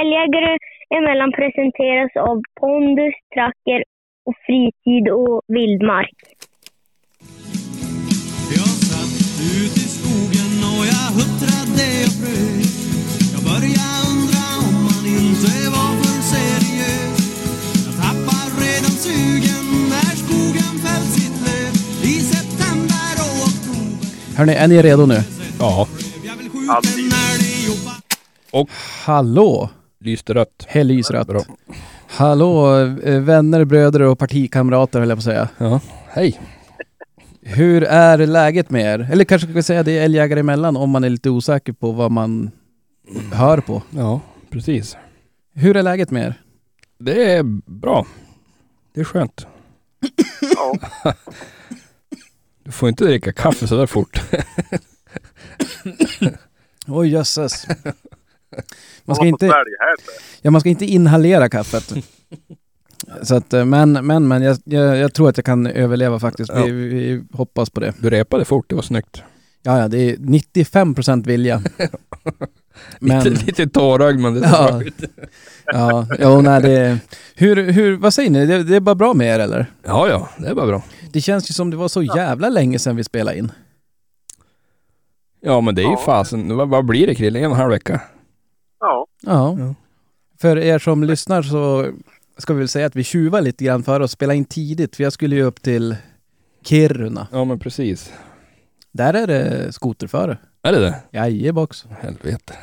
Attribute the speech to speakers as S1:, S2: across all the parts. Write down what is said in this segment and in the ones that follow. S1: Älgjägare emellan presenteras av pondus, tracker och fritid och vildmark.
S2: Jag satt ut i skogen och jag huttrade och frös. Jag började undra om man inte var för seriös. Jag tappar redan sugen när skogen fällt sitt löv. I september och oktober
S3: Hörni, är ni redo nu?
S4: Ja,
S2: jag vill skjuta en älg och ba-
S3: Hallå!
S4: lyste rött.
S3: Helysrött.
S4: Bra.
S3: Hallå eh, vänner, bröder och partikamrater höll jag på att säga.
S4: Ja, hej.
S3: Hur är läget med er? Eller kanske ska vi säga det är älgjägare emellan om man är lite osäker på vad man hör på.
S4: Ja, precis.
S3: Hur är läget med er?
S4: Det är bra. Det är skönt.
S5: Ja.
S4: Du får inte dricka kaffe sådär fort.
S3: Oj jösses. Man ska
S5: Vad
S3: inte...
S5: svälj här för?
S3: Ja, man ska inte inhalera kaffet. Så att, eh, men, men, men jag, jag, jag tror att jag kan överleva faktiskt. Vi,
S4: Ja.
S3: vi hoppas på det.
S4: Du repade fort, det var snyggt.
S3: Ja, ja, det är 95 procent vilja. Men,
S4: Lite, lite tårögd men det är
S3: ja,
S4: bra.
S3: ja, ja, nej, det, hur, hur, vad säger ni? Det, det är bara bra med er eller?
S4: ja, ja, det är bara bra.
S3: Det känns ju som det var så jävla länge sedan vi spelade in.
S4: Ja, men det är ju
S5: Ja.
S4: fasen. Vad, vad blir det Krille? En och en halv vecka?
S5: Ja,
S3: Ja.
S4: Ja.
S3: För er som lyssnar så ska vi väl säga att vi tjuvar lite grann för att spela in tidigt, för jag skulle ju upp till Kiruna.
S4: Ja, men precis.
S3: Där är det skoterföre.
S4: Är det det?
S3: Jajebox.
S4: Helvete.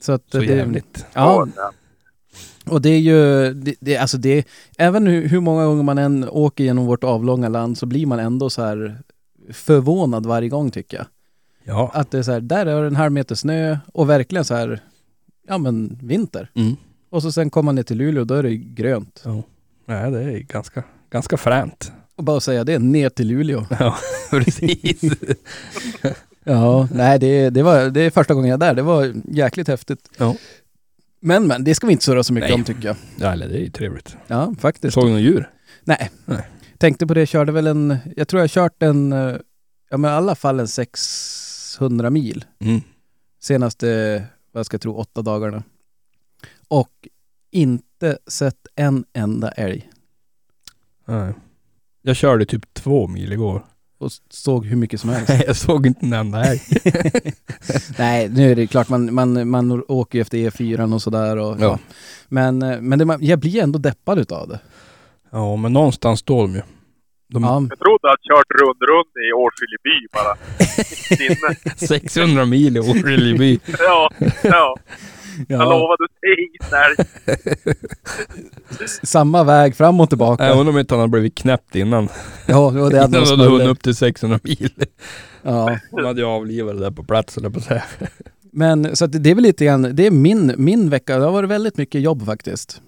S3: Så, att
S4: Så
S3: det,
S4: jävligt.
S3: Ja,
S5: ja.
S3: och det är ju, det, det, alltså det, även hur, hur många gånger man än åker genom vårt avlånga land så blir man ändå så här förvånad varje gång tycker jag.
S4: Ja.
S3: Att det är så här, där är det en halv meter snö och verkligen så här, ja men vinter.
S4: Mm.
S3: Och så sen kommer man ner till Luleå och då är det grönt.
S4: Nej, det är ganska, ganska fränt.
S3: Och bara säga det, ner till Luleå.
S4: Ja, precis.
S3: Ja, nej det, det, var, det är första gången jag är där, det var jäkligt häftigt.
S4: Ja.
S3: Men men, det ska vi inte surra så mycket
S4: Nej.
S3: om tycker jag.
S4: ja, eller det är ju trevligt.
S3: Ja,
S4: Du
S3: faktiskt.
S4: såg några djur?
S3: Nej.
S4: Nej.
S3: Tänkte på det, körde väl en, jag tror jag kört en, eh, ja men i alla fall en 600 mil
S4: Mm.
S3: senaste, vad jag ska tro, åtta dagarna. Och inte sett en enda älg.
S4: Nej. Jag körde typ två mil igår.
S3: Och s- såg hur mycket som helst.
S4: Nej, jag såg inte en enda älg.
S3: Nej, nu är det klart, man, man, man åker ju efter E4 och sådär. Och,
S4: Ja.
S3: ja. Men, eh, men det, man- jag blir ändå deppad utav det.
S4: Ja, men någonstans står de ju. De
S3: Ja,
S5: Jag trodde att kört rund rund i Årskileby bara. Sinne.
S4: 600 mil i Orrelyby.
S5: Ja, ja. Jag
S3: ja,
S5: lovade tid när
S3: samma väg fram och tillbaka.
S4: Jag
S3: Ja,
S4: undrar om inte han hade blivit knäppt innan.
S3: och det
S4: innan
S3: hade
S4: han
S3: någon
S4: hade hunnit
S3: snulle.
S4: upp till 600 mil.
S3: Ja.
S4: Han hade ju avlivat det där på plats, eller på att säga.
S3: Men så att det är väl lite grann, det är min, min vecka, det har varit väldigt mycket jobb faktiskt.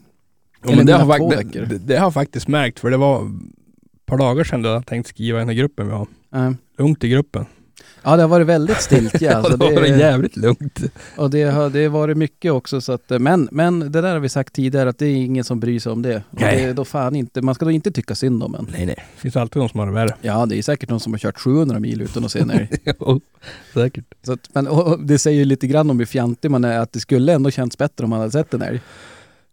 S4: Ja, men det,
S3: mina
S4: har
S3: två
S4: fakt-
S3: veckor.
S4: det, det har jag faktiskt märkt, för det var ett par dagar sedan jag hade tänkt skriva i den här gruppen vi har.
S3: Eh,
S4: Lugnt i gruppen.
S3: Ja, det har varit väldigt stiltje alltså.
S4: det var
S3: det,
S4: jävligt lugnt.
S3: och det har det har varit mycket också så att, eh, men, men det där har vi sagt tidigare att det är ingen som bryr sig om det. Och
S4: Nej.
S3: det är då fan inte, man ska då inte tycka synd om en.
S4: Nej, nej. Det finns alltid de som har det värre.
S3: Ja, det är säkert någon som har kört 700 mil utan att se en älg.
S4: Jo, Säkert.
S3: Så att, men och, och det säger ju lite grann om hur fjantig man är, att det skulle ändå känts bättre om man hade sett en älg.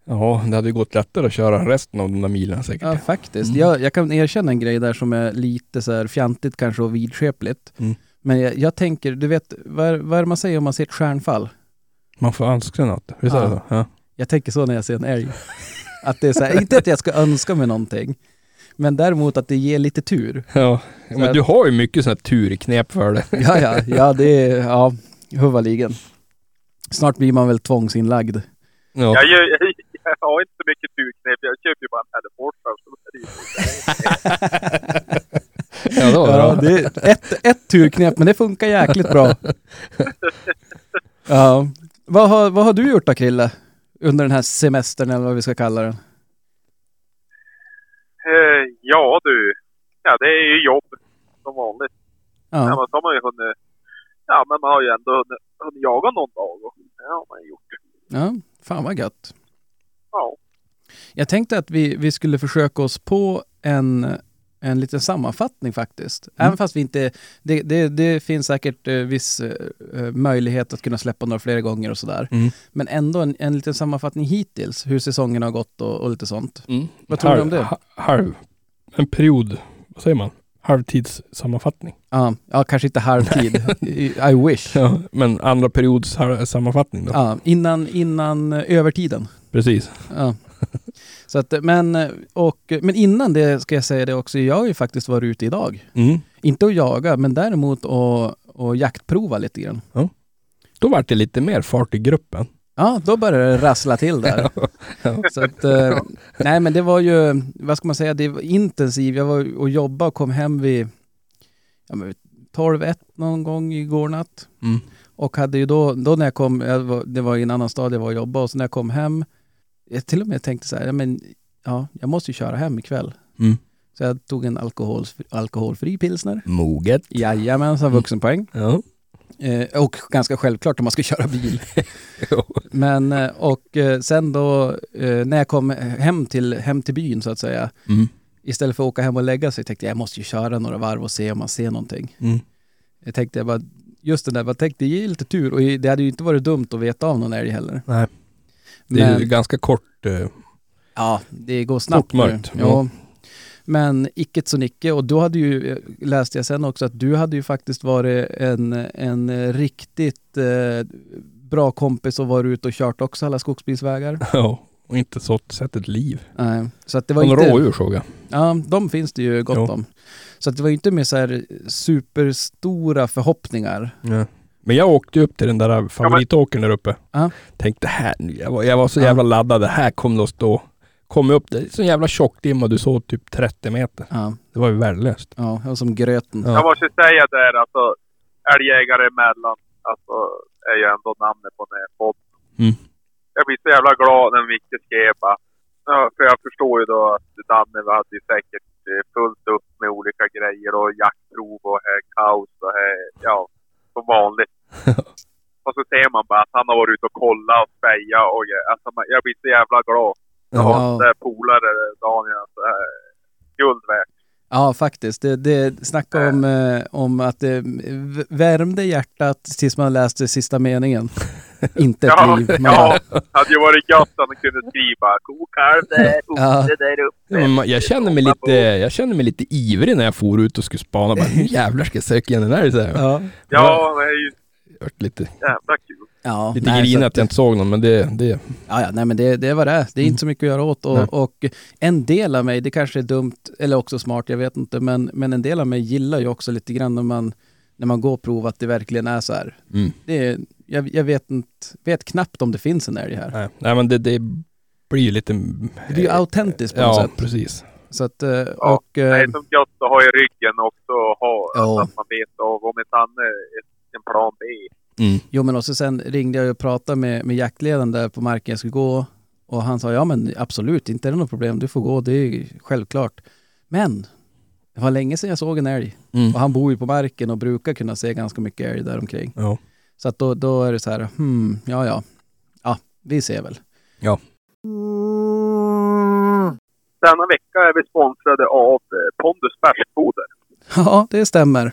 S4: Ja, det hade ju gått lättare att köra resten av de där milen säkert.
S3: Ja, faktiskt. Jag, jag kan erkänna en grej där som är lite så här fjantigt kanske och vidskepligt.
S4: Mm.
S3: Men jag, jag tänker, du vet, vad, är- vad är det man säger om man ser ett stjärnfall?
S4: Man får önska något. Visst är det
S3: Ja.
S4: så? Ja.
S3: Jag tänker så när jag ser en älg. att det är så här, inte att jag ska önska mig någonting, men däremot att det ger lite tur.
S4: Ja,
S3: Så att-
S4: men du har ju mycket sådana här turknep för det.
S3: Ja, ja, ja, det är, ja, huvaligen. Snart blir man väl tvångsinlagd.
S4: Ja.
S5: jag, gör, jag har inte så mycket turknep. Jag köper ju bara en teleporter. så det är ju-
S4: Ja, det var bra.
S3: Ja, det är ett, ett turknep, men det funkar jäkligt bra. Ja. Vad har, vad har du gjort då, Krille? Under den här semestern, eller vad vi ska kalla den.
S5: Eh, Ja du. Ja, det är ju jobb som vanligt. Ja,
S3: Ja.
S5: men så har man ju hunnit... Ja, men man har ju ändå hunnit, hunnit jaga någon dag. Och, det har man ju gjort.
S3: ja, fan vad gött.
S5: Ja.
S3: Jag tänkte att vi, vi skulle försöka oss på en en liten sammanfattning faktiskt. Även fast vi inte, det, det, det finns säkert eh, viss eh, eh, möjlighet att kunna släppa några fler gånger och sådär.
S4: Mm.
S3: Men ändå en, en liten sammanfattning hittills, hur säsongen har gått och, och lite sånt.
S4: Mm.
S3: Vad tror du om det?
S4: ha- Halv, en period, vad säger man? Halvtidssammanfattning.
S3: Ja, ja kanske inte halvtid. I I wish. Ja.
S4: Ja, men andra periods har- sammanfattning då.
S3: innan, innan eh, övertiden.
S4: Precis.
S3: Ja. Så att, eh, men, eh, och, men innan det ska jag säga det också, jag har ju faktiskt varit ute idag.
S4: Mm.
S3: Inte att jaga, men däremot att, att jaktprova lite grann.
S4: Då vart det lite mer fart i gruppen.
S3: Ja, då började det rassla till där. Så att, eh, nej men det var ju, vad ska man säga, det var intensivt. Jag var och jobbade och kom hem vid ja, men 12-1 någon gång igår natt.
S4: Mm.
S3: Och hade ju då, då när jag kom, jag var, det var i en annan stad jag var och jobbade, och så när jag kom hem, jag till och med tänkte så här, ja, men ja, jag måste ju köra hem ikväll.
S4: Mm.
S3: Så jag tog en alkohol, alkoholfri pilsner.
S4: Moget.
S3: Jajamensan, vuxenpoäng.
S4: Ja.
S3: Eh, och ganska självklart om man ska köra bil. Men, eh, och eh, sen då, eh, när jag kom hem till, hem till byn så att säga,
S4: Mm.
S3: istället för att åka hem och lägga sig tänkte jag, jag måste ju köra några varv och se om man ser någonting.
S4: Mm.
S3: Jag tänkte, jag bara, just det där, jag tänkte ge lite tur och det hade ju inte varit dumt att veta av någon älg heller.
S4: Nej. Det är ju
S3: Men-
S4: ganska kort. eh,
S3: Ja, det går snabbt
S4: Fort mörkt,
S3: nu.
S4: ja.
S3: Ja. Men icket så nicke och då hade ju, eh, läste jag sen också att du hade ju faktiskt varit en, en eh, riktigt eh, bra kompis och varit ute och kört också alla skogsbilsvägar.
S4: Ja. Och inte så sett ett liv.
S3: Nej, så att det var
S4: Någon
S3: inte,
S4: rådjur såg jag.
S3: Ja, de finns det ju gott
S4: Jo.
S3: om. Så att det var ju inte med så här superstora förhoppningar.
S4: Ja. Men jag åkte ju upp till den där favoritåkern där uppe.
S3: Ja.
S4: Tänkte här nu, jag var, jag var så
S3: Ja.
S4: jävla laddad, det här kommer att stå. Kom upp, det är så jävla tjock dimma, du såg typ 30 meter.
S3: Ja,
S4: Det var ju värdelöst.
S3: ja det var som gröten.
S4: Ja.
S5: Jag måste säga det här, alltså. Älgjägare emellan, alltså, är ju ändå namnet på den här podden.
S4: Mm.
S5: Jag blir så jävla glad när Micke skrev bara, ja, För jag förstår ju då att Danne vi hade ju säkert eh, fullt upp med olika grejer och jaktprov och här, kaos och här, ja, som vanligt. och så ser man bara att han har varit ute och kollat och spejat och grejer. alltså, man- jag blir så jävla glad. Jag har
S3: Ja.
S5: en sån där polare, Daniel, alltså, eh, guld värt.
S3: Ja, faktiskt. Det, det snacka om, eh, om att det v- värmde hjärtat tills man läste sista meningen. Inte ett
S5: Ja,
S3: liv. Man bara,
S5: ja, hade ju varit gött om de kunde skriva kokalv där, oxe där uppe.
S4: Ja, men man- jag, kände mig lite, jag kände mig lite ivrig när jag for ut och skulle spana. Bara, nu jävlar ska jag söka igen den här. Så här. Jag
S3: ja.
S5: Ja, det är ju
S4: vart lite
S5: jävla kul.
S3: Ja,
S4: lite
S3: nej,
S4: grinig
S3: så
S4: att jag inte såg någon, men det, det
S3: Ja, ja, nej men det, det var det. Det är inte så mycket att göra åt.
S4: Mm. Nej.
S3: Och, och en del av mig, det kanske är dumt eller också smart, jag vet inte, men, men en del av mig gillar ju också lite grann när man, när man går och provar att det verkligen är så här.
S4: mm.
S3: Det är, jag, jag vet, inte, vet knappt om det finns en älg här.
S4: nej. nej, men det, det blir ju lite...
S3: Det är ju autentiskt på något
S4: Ja,
S3: sätt.
S4: precis.
S3: Så att, eh,
S5: Ja,
S3: och...
S5: Det
S3: eh,
S5: är som gött att ha i ryggen också, att ha,
S3: Ja.
S5: att man vet av om inte annat ett- en plan B.
S4: Mm.
S3: Jo men också sen ringde jag ju och pratade med, med jaktledaren där på marken jag skulle gå och han sa ja men absolut, inte är det något problem, du får gå, det är ju självklart. Men det var länge sedan jag såg en älg
S4: Mm.
S3: och han bor ju på marken och brukar kunna se ganska mycket älg där omkring.
S4: Ja.
S3: Så att då, då är det så här, hmm, ja ja, ja vi ser väl.
S5: Denna vecka är vi sponsrade av eh, Pondus bärsfoder.
S3: Ja, det stämmer.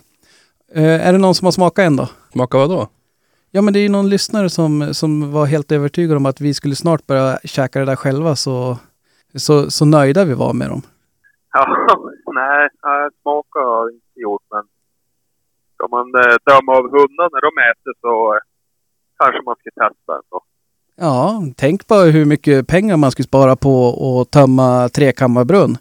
S3: Eh, är det någon som har smakat än då?
S4: Smaka vad då?
S3: Ja men det är ju någon lyssnare som, som var helt övertygad om att vi skulle snart börja käka det där själva så, så, så nöjda vi var med dem.
S5: Ja, nej, nej, smaka har jag inte gjort men ska man eh, döma av hundarna när de äter så eh, kanske man ska testa ändå.
S3: Ja, tänk bara hur mycket pengar man skulle spara på att tömma trekammarbrunn.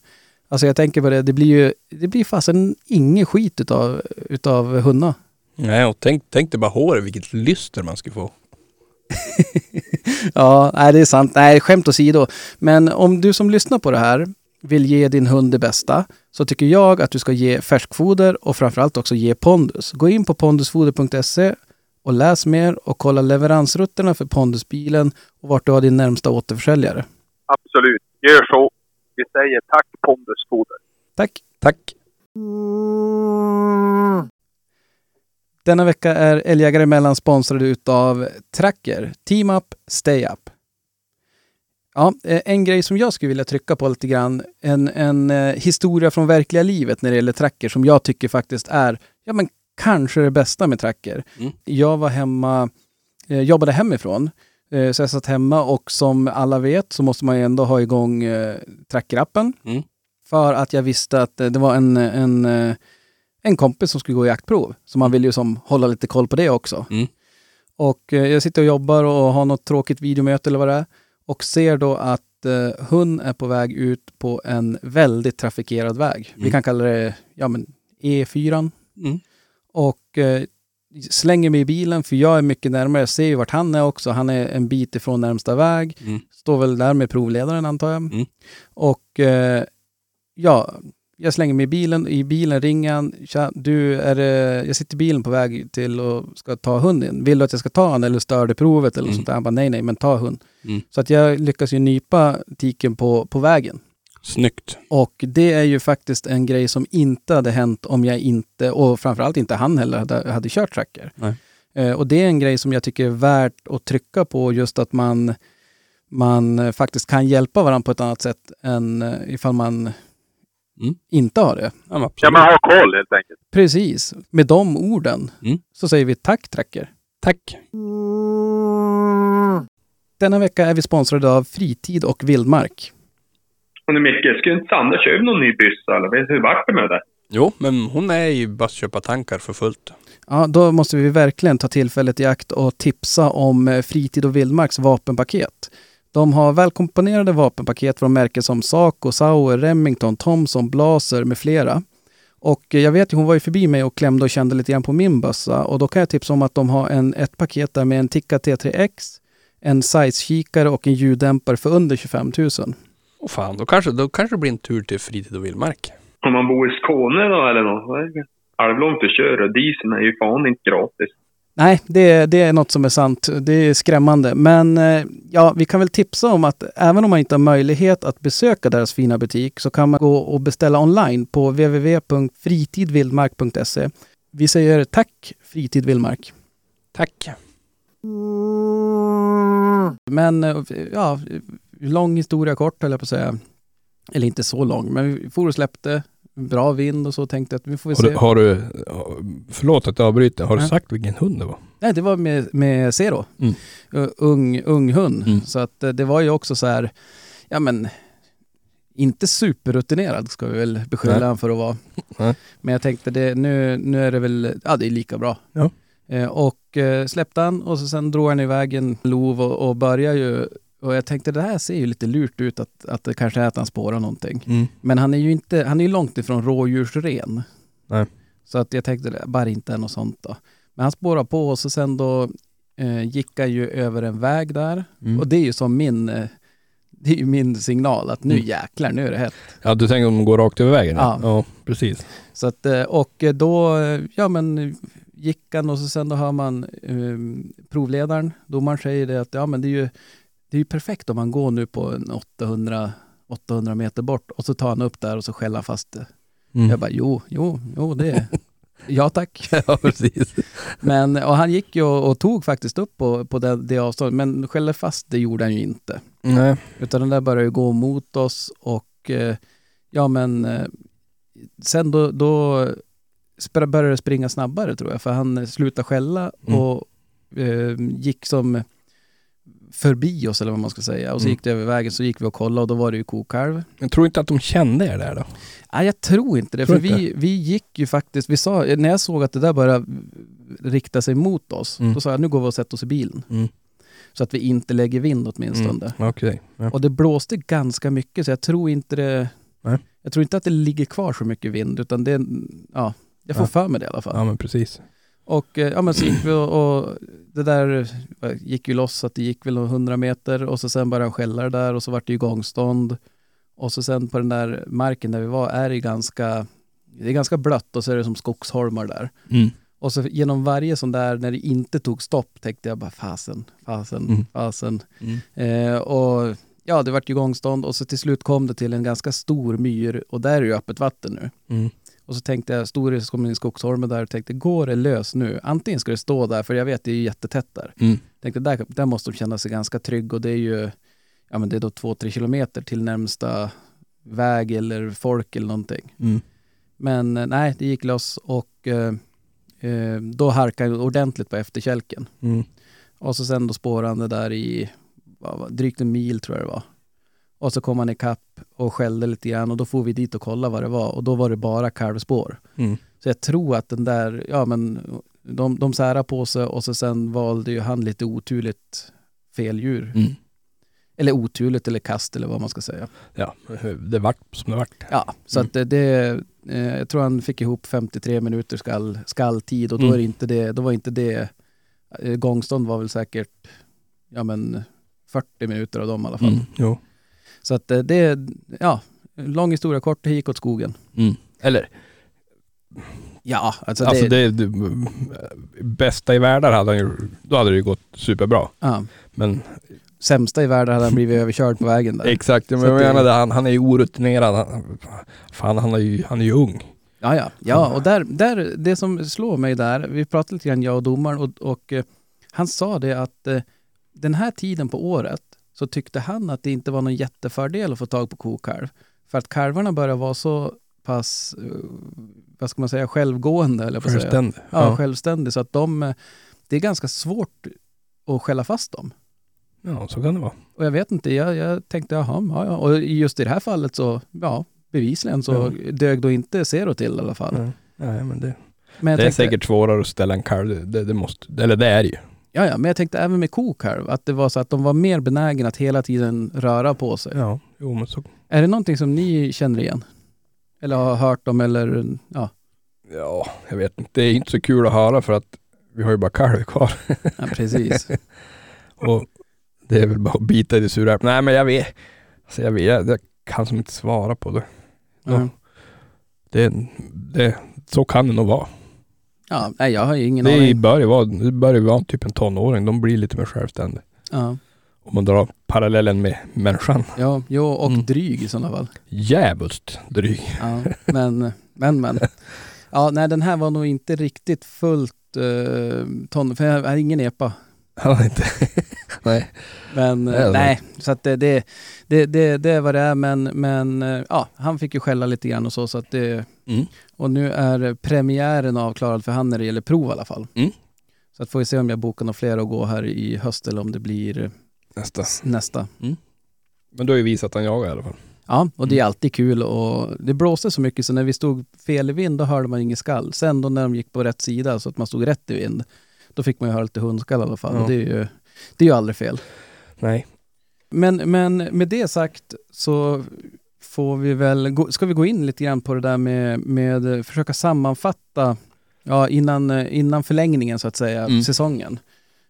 S3: Alltså jag tänker på det, det blir ju, det blir fasen ingen skit utav, utav hundar.
S4: Nej, och tänk, tänk dig bara håret, vilket lyster man skulle få.
S3: Ja, nej det är sant. Nej, skämt åsido. Men om du som lyssnar på det här vill ge din hund det bästa så tycker jag att du ska ge färskfoder och framförallt också ge pondus. Gå in på pondusfoder.se och läs mer och kolla leveransrutterna för pondusbilen och vart du har din närmsta återförsäljare.
S5: Absolut, gör så. Vi säger tack Pondus foder.
S3: Tack!
S4: Tack.
S3: Denna vecka är Älgjägare emellan sponsrade utav Tracker, Team Up, Stay Up. Ja, eh, en grej som jag skulle vilja trycka på lite grann, en, en eh, historia från verkliga livet när det gäller tracker som jag tycker faktiskt är, ja men kanske det bästa med tracker.
S4: Mm.
S3: Jag var hemma, eh, jobbade hemifrån, eh, så jag satt hemma och som alla vet så måste man ju ändå ha igång eh, trackerappen.
S4: Mm.
S3: För att jag visste att eh, det var en, en, eh, en kompis som skulle gå jaktprov, så man vill ju som hålla lite koll på det också.
S4: Mm.
S3: Och eh, jag sitter och jobbar och har något tråkigt videomöte eller vad det är och ser då att eh, hon är på väg ut på en väldigt trafikerad väg. Vi
S4: Mm.
S3: kan kalla det ja, men E4.
S4: Mm.
S3: Och eh, slänger mig i bilen för jag är mycket närmare. Jag ser ju vart han är också. Han är en bit ifrån närmsta väg.
S4: Mm.
S3: Står väl där med provledaren antar jag.
S4: Mm.
S3: Och eh, ja, jag slänger mig i bilen. I bilen ringer han. Tja, du, är det, jag sitter i bilen på väg till och ska ta hunden. Vill du att jag ska ta han eller stör det provet eller
S4: Mm.
S3: sånt där? Han bara nej, nej, men ta hund.
S4: Mm.
S3: Så att jag lyckas ju nypa tiken på, på vägen.
S4: Snyggt.
S3: Och det är ju faktiskt en grej som inte hade hänt om jag inte, och framförallt inte han heller, hade, hade kört tracker.
S4: Nej.
S3: Eh, och det är en grej som jag tycker är värt att trycka på, just att man, man eh, faktiskt kan hjälpa varandra på ett annat sätt än eh, ifall man
S4: Mm.
S3: inte har det.
S4: Ja, men
S5: Ja,
S4: absolut.
S5: men ha koll helt enkelt.
S3: Precis, med de orden
S4: Mm.
S3: så säger vi tack tracker.
S4: Tack.
S3: Denna vecka är vi sponsrade av Fritid och Vildmark.
S6: Hon är Micke, skulle inte Sandra köpa någon ny byssa eller Vet du hur vart det med det?
S4: Jo, men hon är ju bara köpa tankar för fullt.
S3: Ja, då måste vi verkligen ta tillfället i akt och tipsa om eh, Fritid och Vildmarks vapenpaket. De har välkomponerade vapenpaket från märken som Saco, Sauer, Remington, Thomson, Blaser med flera. Och eh, jag vet ju, hon var ju förbi mig och klämde och kände lite grann på min bössa och då kan jag tipsa om att de har en, ett paket där med en Tikka T3X, en size-kikare och en ljuddämpare för under 25 000.
S4: Åh fan, då kanske, då kanske det blir en tur till fritid och vildmark.
S6: Om man bor i Skåne då eller något? vad är det? Halvlångt att köra. Dieseln är ju fan inte gratis.
S3: Nej, det, det är något som är sant. Det är skrämmande. Men eh, ja, vi kan väl tipsa om att även om man inte har möjlighet att besöka deras fina butik så kan man gå och beställa online på www.fritidvildmark.se. Vi säger tack, Fritid Vildmark.
S4: Tack.
S3: Men eh, ja, lång historia kort höll jag på att säga. Eller inte så lång, men vi for och släppte. Bra vind och så tänkte jag att vi får väl
S4: Har du,
S3: se.
S4: har du, förlåt att jag avbryter, har du
S3: Ja.
S4: sagt vilken hund det var?
S3: Nej, det var med, med Zero.
S4: Mm.
S3: Uh, ung, ung hund.
S4: Mm.
S3: Så att eh, det var ju också så här, ja men, inte superrutinerad ska vi väl beskylla
S4: Nej.
S3: honom för att vara.
S4: Nej.
S3: Men jag tänkte det, nu, nu är det väl, ja det är lika bra.
S4: Ja.
S3: Eh, och eh, släppte han och så sen drog han iväg en lov och, och började ju, och jag tänkte det här ser ju lite lurt ut att, att det kanske är att han spårar någonting.
S4: Mm.
S3: Men han är ju inte, han är ju långt ifrån rådjursren.
S4: Nej.
S3: Så att jag tänkte, det bara inte är något sånt då. Men han spårade på och så sen då eh, gick han ju över en väg där.
S4: Mm.
S3: Och det är ju som min, eh, det är ju min signal att nu
S4: Mm.
S3: jäklar, nu är det hett.
S4: Ja, du tänker om de går rakt över vägen?
S3: Ja.
S4: precis.
S3: Så att, eh, och då, eh, ja men gick han och så sen då hör man eh, provledaren, domaren säger det att ja men det är ju, det är ju perfekt om man går nu på en 800, 800 meter bort och så tar han upp där och så skäller han fast eh, det.
S4: Mm.
S3: Jag bara, jo, jo, jo, det... ja tack.
S4: ja, precis.
S3: Men, och han gick ju och, och tog faktiskt upp på, på det, det avståndet, men skällde fast det gjorde han ju inte.
S4: Nej.
S3: Utan den där började ju gå mot oss och eh, ja men eh, sen då, då spr- började det springa snabbare tror jag, för han eh, slutade skälla
S4: Mm.
S3: och eh, gick som förbi oss eller vad man ska säga. Och så
S4: Mm.
S3: gick det över vägen, så gick vi och kollade och då var det ju kokalv.
S4: Jag tror inte att de kände er där då.
S3: Nej, jag tror inte det.
S4: Tror
S3: för
S4: inte?
S3: vi, vi gick ju faktiskt, vi sa, när jag såg att det där började rikta sig mot oss,
S4: Mm.
S3: då sa jag nu går vi och sätter oss i bilen.
S4: Mm.
S3: Så att vi inte lägger vind åtminstone.
S4: Okej. Ja.
S3: Och det blåste ganska mycket så jag tror inte det,
S4: Nej.
S3: jag tror inte att det ligger kvar så mycket vind utan det, ja, jag får
S4: Ja.
S3: för mig det i alla fall.
S4: ja, men precis.
S3: Och eh, ja, men så gick vi och, och det där eh, gick ju loss så att det gick väl 100 meter och så sen började han skälla det där och så vart det ju gångstånd. Och så sen på den där marken där vi var är det ju ganska, det är ganska blött och så är det som skogsholmar där.
S4: Mm.
S3: Och så genom varje sån där, när det inte tog stopp, tänkte jag bara fasen, fasen,
S4: Mm.
S3: fasen.
S4: Mm.
S3: Eh, och ja, det vart ju gångstånd och så till slut kom det till en ganska stor myr och där är ju öppet vatten nu.
S4: Mm.
S3: Och så tänkte jag, stod det kom in i skogsholmen där och tänkte, går det lös nu? Antingen ska det stå där, för jag vet det är ju jättetätt där.
S4: Mm.
S3: Tänkte, där, där måste de känna sig ganska trygg och det är ju, ja ja men det är då två, tre kilometer till närmsta väg eller folk eller någonting.
S4: Mm.
S3: Men eh, nej, det gick loss och eh, eh, då harkade jag ordentligt på efterkälken.
S4: Mm.
S3: Och så sen då spårade han det där i vad var, det, drygt en mil tror jag det var. Och så kom han ikapp och skällde lite grann och då får vi dit och kolla vad det var och då var det bara kalvspår.
S4: Mm.
S3: Så jag tror att den där, ja men de, de särade på sig och så sen valde ju han lite oturligt fel djur.
S4: Mm.
S3: Eller oturligt eller kast eller vad man ska säga.
S4: Ja, det vart som det vart.
S3: Ja, så
S4: Mm.
S3: att det, det eh, jag tror han fick ihop 53 minuter skall, skalltid och då,
S4: Mm.
S3: är det inte det, då var inte det, eh, gångstånd var väl säkert, ja men 40 minuter av dem i alla fall.
S4: Mm. Jo.
S3: Så att eh, det, ja, lång historia kort, det gick åt skogen.
S4: Mm. Eller,
S3: Ja, alltså,
S4: alltså
S3: det,
S4: det, det- bästa i världen hade han ju, då hade det ju gått superbra.
S3: Ja,
S4: Men
S3: sämsta i världen hade han blivit överkörd på vägen där.
S4: Exakt, men
S3: Så att
S4: jag
S3: det-
S4: menar det, han, han är ju orutinerad. Han, fan, han är ju, han är ju ung.
S3: Ja, ja. ja och där, där, det som slår mig där, vi pratade lite grann jag och domaren och, och eh, han sa det att eh, den här tiden på året så tyckte han att det inte var någon jättefördel att få tag på kokalv. För att kalvarna börjar vara så pass, eh, vad ska man säga, självgående eller vad säga.
S4: Självständig.
S3: Ja,
S4: Ja.
S3: självständig. Så att de, eh, det är ganska svårt att skälla fast dem.
S4: ja, så kan det vara.
S3: Och jag vet inte, jag, jag tänkte jaha, ja, ja. Och just i det här fallet så, ja, bevisligen så dög då inte Zero till i alla fall.
S4: Nej, nej, men det,
S3: Men jag
S4: det är
S3: tänkte-
S4: säkert svårare att ställa en kalv. Det, det, det måste, eller det är det ju.
S3: Ja, ja, men jag tänkte även med kokalv, att det var så att de var mer benägna att hela tiden röra på sig.
S4: Ja, jo, men så.
S3: Är det någonting som ni känner igen? Eller har hört om eller ja,
S4: Ja, jag vet inte. Det är inte så kul att höra för att vi har ju bara kalv kvar.
S3: ja precis.
S4: Och det är väl bara att bita i det sura äpplet. Nej, men jag vet. Alltså, jag vet. Jag, jag kan som inte svara på det.
S3: ja.
S4: det, det så kan det nog vara.
S3: ja, nej jag har ju ingen
S4: Det
S3: aning.
S4: bör ju vara, det bör ju vara typ en tonåring. De blir lite mer självständiga.
S3: Ja,
S4: Om man drar parallellen med människan.
S3: ja, jo, och
S4: Mm.
S3: dryg i sådana fall.
S4: Djävulskt dryg.
S3: Ja, men, men, men. Ja, nej den här var nog inte riktigt fullt eh, ton, för jag har ingen epa.
S4: Han har inte... Nej.
S3: Men
S4: Nej,
S3: eh,
S4: det-
S3: nej, så att det, det, det, det, det är vad det är. Men, men eh, ja, han fick ju skälla lite grann och så. så att det,
S4: Mm.
S3: Och nu är premiären avklarad för han när det gäller prov i alla fall.
S4: Mm.
S3: Så att får vi se om jag bokar några fler och gå här i höst eller om det blir
S4: Nästa.
S3: s- nästa.
S4: Men du har ju visat att han jagar i alla fall.
S3: Ja, och
S4: Mm.
S3: det är alltid kul och det blåste så mycket så när vi stod fel i vind då hörde man inget skall. Sen då när de gick på rätt sida så att man stod rätt i vind, då fick man ju höra lite hundskall i alla fall.
S4: Ja.
S3: Och det är ju, det är ju aldrig fel.
S4: Nej.
S3: Men, men med det sagt så får vi väl, gå, ska vi gå in lite grann på det där med, med försöka sammanfatta ja, innan, eh, innan förlängningen så att säga,
S4: Mm.
S3: säsongen.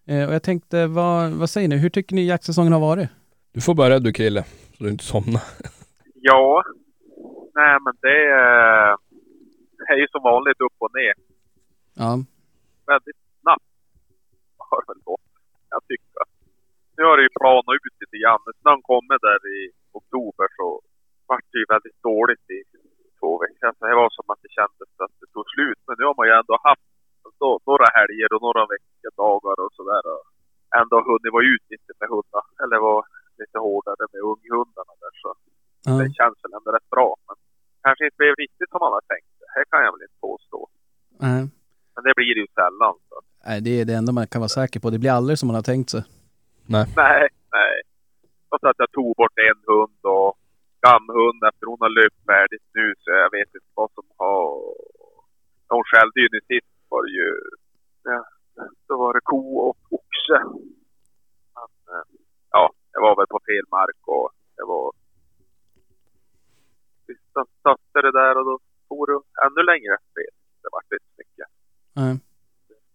S3: Eh, och jag tänkte, vad, vad säger ni, hur tycker ni jaktsäsongen har varit?
S4: Du får börja du Krille, så du inte somnar.
S5: Ja. Nej, men det eh, är ju som vanligt upp och ner.
S3: Ja,
S5: Väldigt snabbt har det väl gått, jag tycker. Nu har det ju planat ut lite grann. När snön kommer där i oktober så vart det ju väldigt dåligt i två veckor. Så det var som att det kändes att det tog slut. Men nu har man ju ändå haft då, några helger och några veckor, dagar och sådär. och Ändå hunnit vara ute lite med hundar. Eller vara lite hårdare med unghundarna där. Så
S3: ja,
S5: det känns väl ändå rätt bra. Men kanske inte blev riktigt som man hade tänkt. Det här kan jag väl inte påstå.
S3: nej.
S5: Men det blir det ju sällan. Så. att-
S3: Nej, det är det enda man kan vara säker på. Det blir aldrig som man har tänkt sig.
S5: Nej, nej. Och så att jag tog bort en hund och skamhund efter hon har löpt färdigt nu så jag vet inte vad som har... Hon skällde ju nu sist var det ju... Ja, då var det ko och oxe. Men, eh, ja, jag var väl på fel mark och det var... Vi satte det där och då for det ännu längre fel. Det var inte så mycket.
S3: Nej.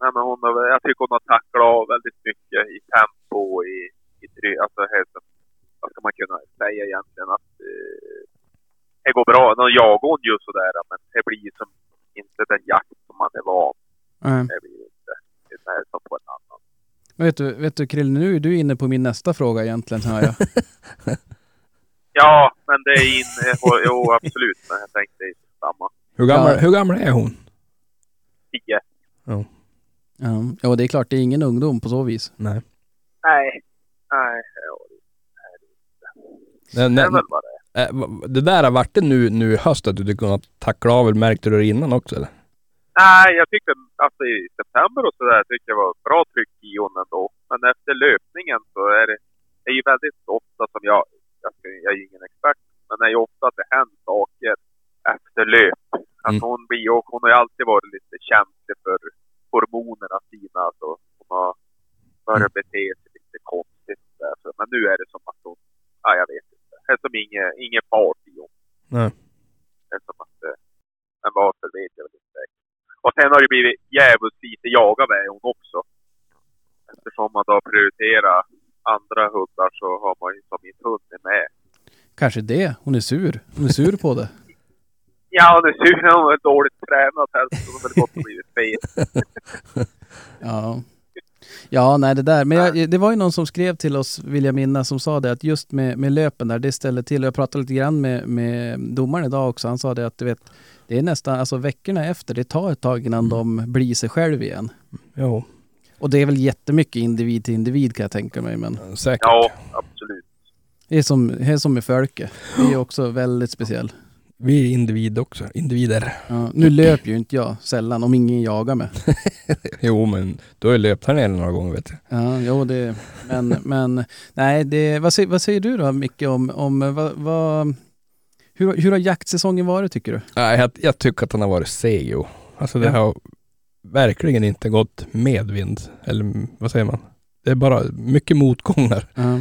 S5: Nej, men hon har, väl- jag tycker hon har tacklat av väldigt mycket i tempo och i, i try, alltså helt, vad ska man kunna säga egentligen att eh, det går bra. Nu jagar hon ju sådär men det blir som inte den jakt som man är van
S3: Nej.
S5: Det blir inte det är som på en annan.
S3: Men vet du, vet du Krill, nu är du inne på min nästa fråga egentligen, hör jag.
S5: Ja, men det är in, jo, jo absolut, men jag tänkte inte samma.
S4: Hur gammal,
S3: Ja.
S4: hur gammal är hon?
S5: 10.
S3: Ja, ja, det är klart, det är ingen ungdom på så vis.
S4: Nej.
S5: Nej. Nej, ja, det är det inte.
S4: Nej,
S5: Det
S4: nej,
S5: är väl vad det är.
S4: eh, va- det där har varit det nu, nu i höst att du hade kunnat tackla av, eller märkte du det innan också eller?
S5: Nej, jag tyckte alltså i september och sådär tyckte jag var bra tryck i hon ändå. Men efter löpningen så är det, det är ju väldigt ofta som jag, jag, ska- jag är ju ingen expert, men det är ju ofta att det händer saker efter löp. Att
S4: Mm.
S5: hon blir, och hon har ju alltid varit lite känslig för hormonerna sina, alltså hon har börjat
S4: Mm.
S5: bete sig lite konstigt där. Så, men nu är det som att hon, ja jag vet inte. Det är som inget, inget fart i hon.
S4: Nej.
S5: Det är som att, eh, men varför vet jag väl inte. Och sen har det blivit djävulskt lite jagad med hon också. Eftersom man då prioriterar andra hundar så har man ju som inte hunnit med.
S3: Kanske det. Hon är sur. Hon är sur på det.
S5: Ja, och nu ser hon är dåligt tränad här så hon har väl gått och blivit fet.
S3: Ja. Ja, nej det där. Men jag, det var ju någon som skrev till oss, vill jag minnas, som sa det att just med, med löpen där, det ställer till. Och Jag pratade lite grann med, med domaren idag också. Han sa det att du vet, det är nästan, alltså veckorna efter, det tar ett tag innan de blir sig själv igen.
S4: Jo,
S3: Och det är väl jättemycket individ till individ kan jag tänka mig. Men
S4: säkert.
S5: Ja, absolut.
S3: det är som, det är som med Fölke. Det är ju också väldigt speciell.
S4: Vi är individ också, individer.
S3: Ja, nu löper ju inte jag sällan, om ingen jagar mig.
S4: Jo men du har ju löpt här nere några gånger vet jag.
S3: Ja, jo, det, men, men nej, det, vad, säger, vad säger du då Micke om, om eh, vad, vad, hur, hur har jaktsäsongen varit tycker du?
S4: Nej, jag, jag tycker att han har varit seg jo. Alltså det
S3: Ja.
S4: har verkligen inte gått med vind. Eller mm, vad säger man? Det är bara mycket motgångar. Eh.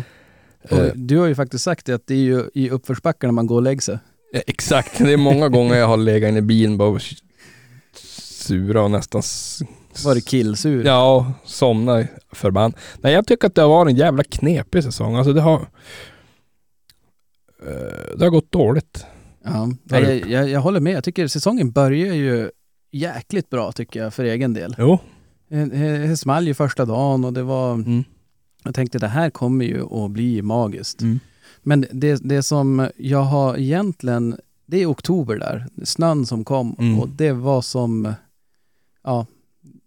S3: Och du har ju faktiskt sagt det att det är ju i uppförsbackarna man går och lägger sig.
S4: Ja, exakt, det är många gånger jag har legat inne i bilen bara och s- sura och nästan... s-
S3: Varit killsur.
S4: Ja, somna förband. Nej, jag tycker att det har varit en jävla knepig säsong. Alltså det har... eh, Det har gått dåligt.
S3: Ja, nej, jag, jag, jag håller med, jag tycker säsongen börjar ju jäkligt bra tycker jag för egen del.
S4: Jo.
S3: Eh, eh, Det small ju första dagen och det var,
S4: Mm.
S3: jag tänkte det här kommer ju att bli magiskt.
S4: Mm.
S3: Men det, det som jag har egentligen, det är oktober där, snön som kom
S4: Mm.
S3: och det var som, ja,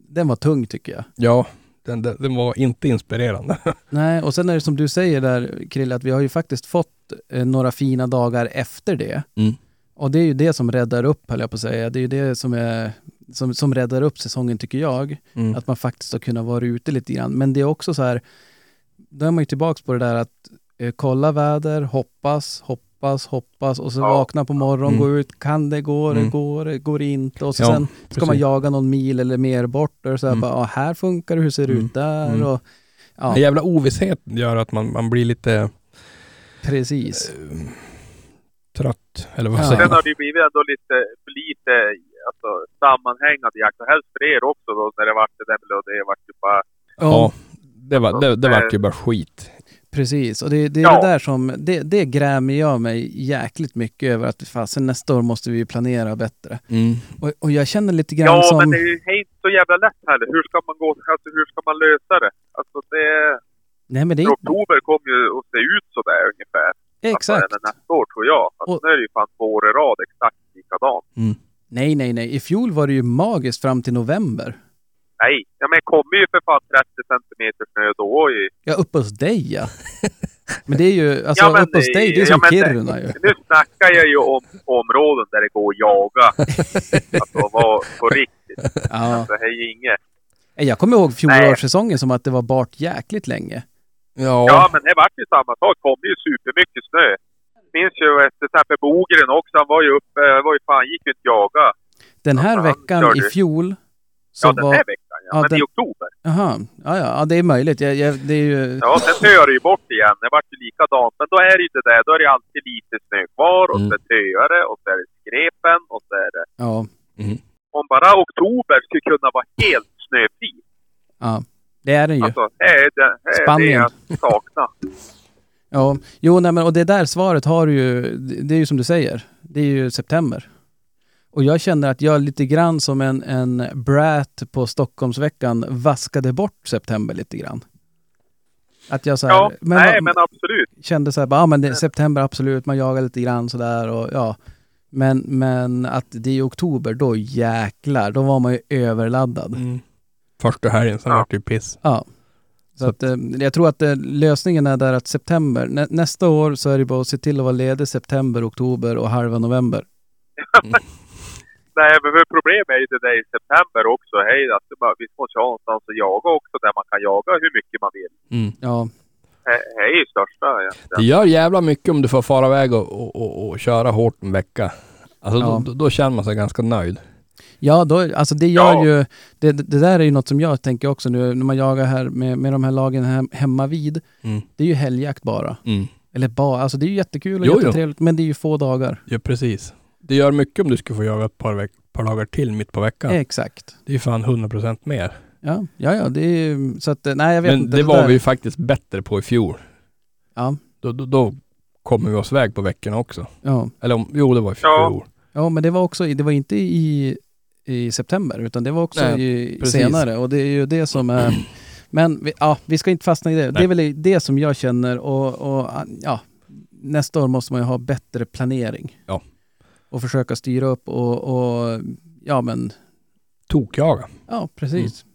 S3: den var tung tycker jag.
S4: Ja, den, den, den var inte inspirerande.
S3: Nej, och sen är det som du säger där Krille, att vi har ju faktiskt fått eh, några fina dagar efter det.
S4: Mm.
S3: Och det är ju det som räddar upp, höll jag på att säga. Det är ju det som, är, som, som räddar upp säsongen tycker jag.
S4: Mm.
S3: Att man faktiskt har kunnat vara ute lite grann. Men det är också så här, då är man ju tillbaks på det där att eh, kolla väder, hoppas, hoppas, hoppas och så
S5: Ja.
S3: vakna på morgonen,
S4: Mm.
S3: gå ut, kan det, går det,
S4: Mm.
S3: går det, går det inte? Och så
S4: Ja,
S3: sen ska man
S4: precis.
S3: jaga någon mil eller mer bort och så här,
S4: Mm.
S3: bara, ah, här funkar det, hur ser det
S4: Mm.
S3: ut där?
S4: Mm.
S3: Och, ja,
S4: Den jävla ovissheten gör att man, man blir lite Eh,
S3: precis.
S4: trött, eller vad
S3: Ja.
S4: säger
S5: Sen
S4: man?
S5: har det ju blivit ändå lite, för lite alltså, sammanhängande jakt. Och helst för er också då när det vart det där med Ludde. Det vart ju bara...
S4: Ja, det var, det, det var ju bara skit.
S3: Precis, och det, det är
S5: Ja.
S3: det där som, det, det grämer jag mig jäkligt mycket över att fasen nästa år måste vi ju planera bättre. Och, och jag känner lite grann
S5: Ja,
S3: som...
S5: men det är ju inte så jävla lätt heller. Hur ska man gå, alltså hur ska man lösa det? Alltså det...
S3: nej men det är
S5: För oktober kommer ju att se ut sådär ungefär.
S3: Exakt.
S5: Alltså, även nästa år tror jag. Alltså,
S3: Och-
S5: Nu är det ju fan två år i rad exakt likadant.
S3: Nej, nej, nej. I fjol var det ju magiskt fram till november.
S5: Nej, ja, men det kommer ju för fan 30 centimeter snö då ju.
S3: Ja, uppe hos dig ja. Men det är ju, alltså
S5: Ja, men
S3: uppe hos
S5: det-
S3: dig, det är
S5: ja,
S3: som
S5: men det-
S3: Kiruna ju.
S5: Nu snackar jag ju om områden där det går att jaga. alltså vad, på riktigt. Alltså,
S3: Ja.
S5: Det här är ju inget.
S3: Nej, Jag kommer ihåg fjolårssäsongen som att det var bart jäkligt länge.
S4: Ja,
S5: Ja, men det vart ju samma sak. Det kom ju supermycket snö. Minns ju efter till exempel Bogren också. Han var ju uppe, eh, var ju fan, gick ju inte jaga.
S3: Den här
S5: Ja,
S3: veckan
S5: gör
S3: i
S5: du.
S3: fjol så
S5: Ja, den
S3: var...
S5: här veckan ja.
S3: ja,
S5: Men i
S3: den-
S5: oktober.
S3: Jaha, ja, ja, ja, det är möjligt. Jag, jag, det är ju...
S5: Ja, sen töar det ju bort igen. Det vart ju likadant. Men då är det ju det där. Då är det alltid lite snö kvar och
S4: Mm.
S5: sen töar det och så är det skrepen och så är det...
S3: Ja,
S5: Om bara oktober skulle kunna vara helt snöfri.
S3: ja. Det är den ju.
S5: Alltså, det är det, det, är det
S3: Spanien.
S5: jag saknar.
S3: Ja, jo, nej, men, och det där svaret har du ju, det det är ju som du säger, det är ju september. Och jag känner att jag lite grann som en, en brat på Stockholmsveckan vaskade bort september lite grann. Att jag så här,
S5: Ja,
S3: men,
S5: nej
S3: vad-
S5: men absolut.
S3: kände så här, bara, ja men det, september absolut, man jagar lite grann sådär och ja. Men, men att det är i oktober, då jäklar, då var man ju överladdad.
S4: Mm. Första helgen, sen
S5: Ja.
S4: vart det ju piss.
S3: Ja. Så att, eh, jag tror att eh, lösningen är där att september, nä, nästa år så är det bara att se till att vara ledig september, oktober och halva november.
S5: Nej, men för problemet är ju det där i september också. Hej, att det bara, vi måste ha någonstans att jaga också där man kan jaga hur mycket man vill.
S4: Mm.
S3: Ja,
S5: He- Det är ju största
S4: Det
S5: egentligen.
S4: gör jävla mycket om du får fara iväg och, och, och, och köra hårt en vecka. Alltså då,
S3: Ja.
S4: då, då känner man sig ganska nöjd.
S3: ja då, alltså det gör
S5: Ja.
S3: ju, det, det där är ju något som jag tänker också nu när man jagar här med, med de här lagen hem, hemma vid.
S4: Mm.
S3: Det är ju helgjakt bara.
S4: Mm.
S3: Eller bara, alltså det är ju jättekul och
S4: Jo, jo.
S3: jättetrevligt men det är ju få dagar.
S4: Ja, precis. Det gör mycket om du skulle få jaga ett par, veck- par dagar till mitt på veckan.
S3: Exakt.
S4: Det är ju fan 100% mer.
S3: Ja, ja, ja det är ju, så att eh, nej jag vet
S4: Men
S3: inte.
S4: det var
S3: där-
S4: vi ju faktiskt bättre på i fjol.
S3: Ja,
S4: Då, då, då kommer vi oss iväg på veckorna också.
S3: ja.
S4: Eller om, jo, det var i fjol.
S5: Ja.
S3: Ja, men det var också, i- det var inte i, i september, utan det var också
S4: Nej,
S3: i,
S4: precis.
S3: senare. Och det är ju det som är... Men vi, ja, vi ska inte fastna i det. Det
S4: Nej.
S3: är väl det som jag känner och, och ja, nästa år måste man ju ha bättre planering.
S4: Ja.
S3: Och försöka styra upp och, och ja men,
S4: Tokjaga.
S3: ja precis.
S4: Mm.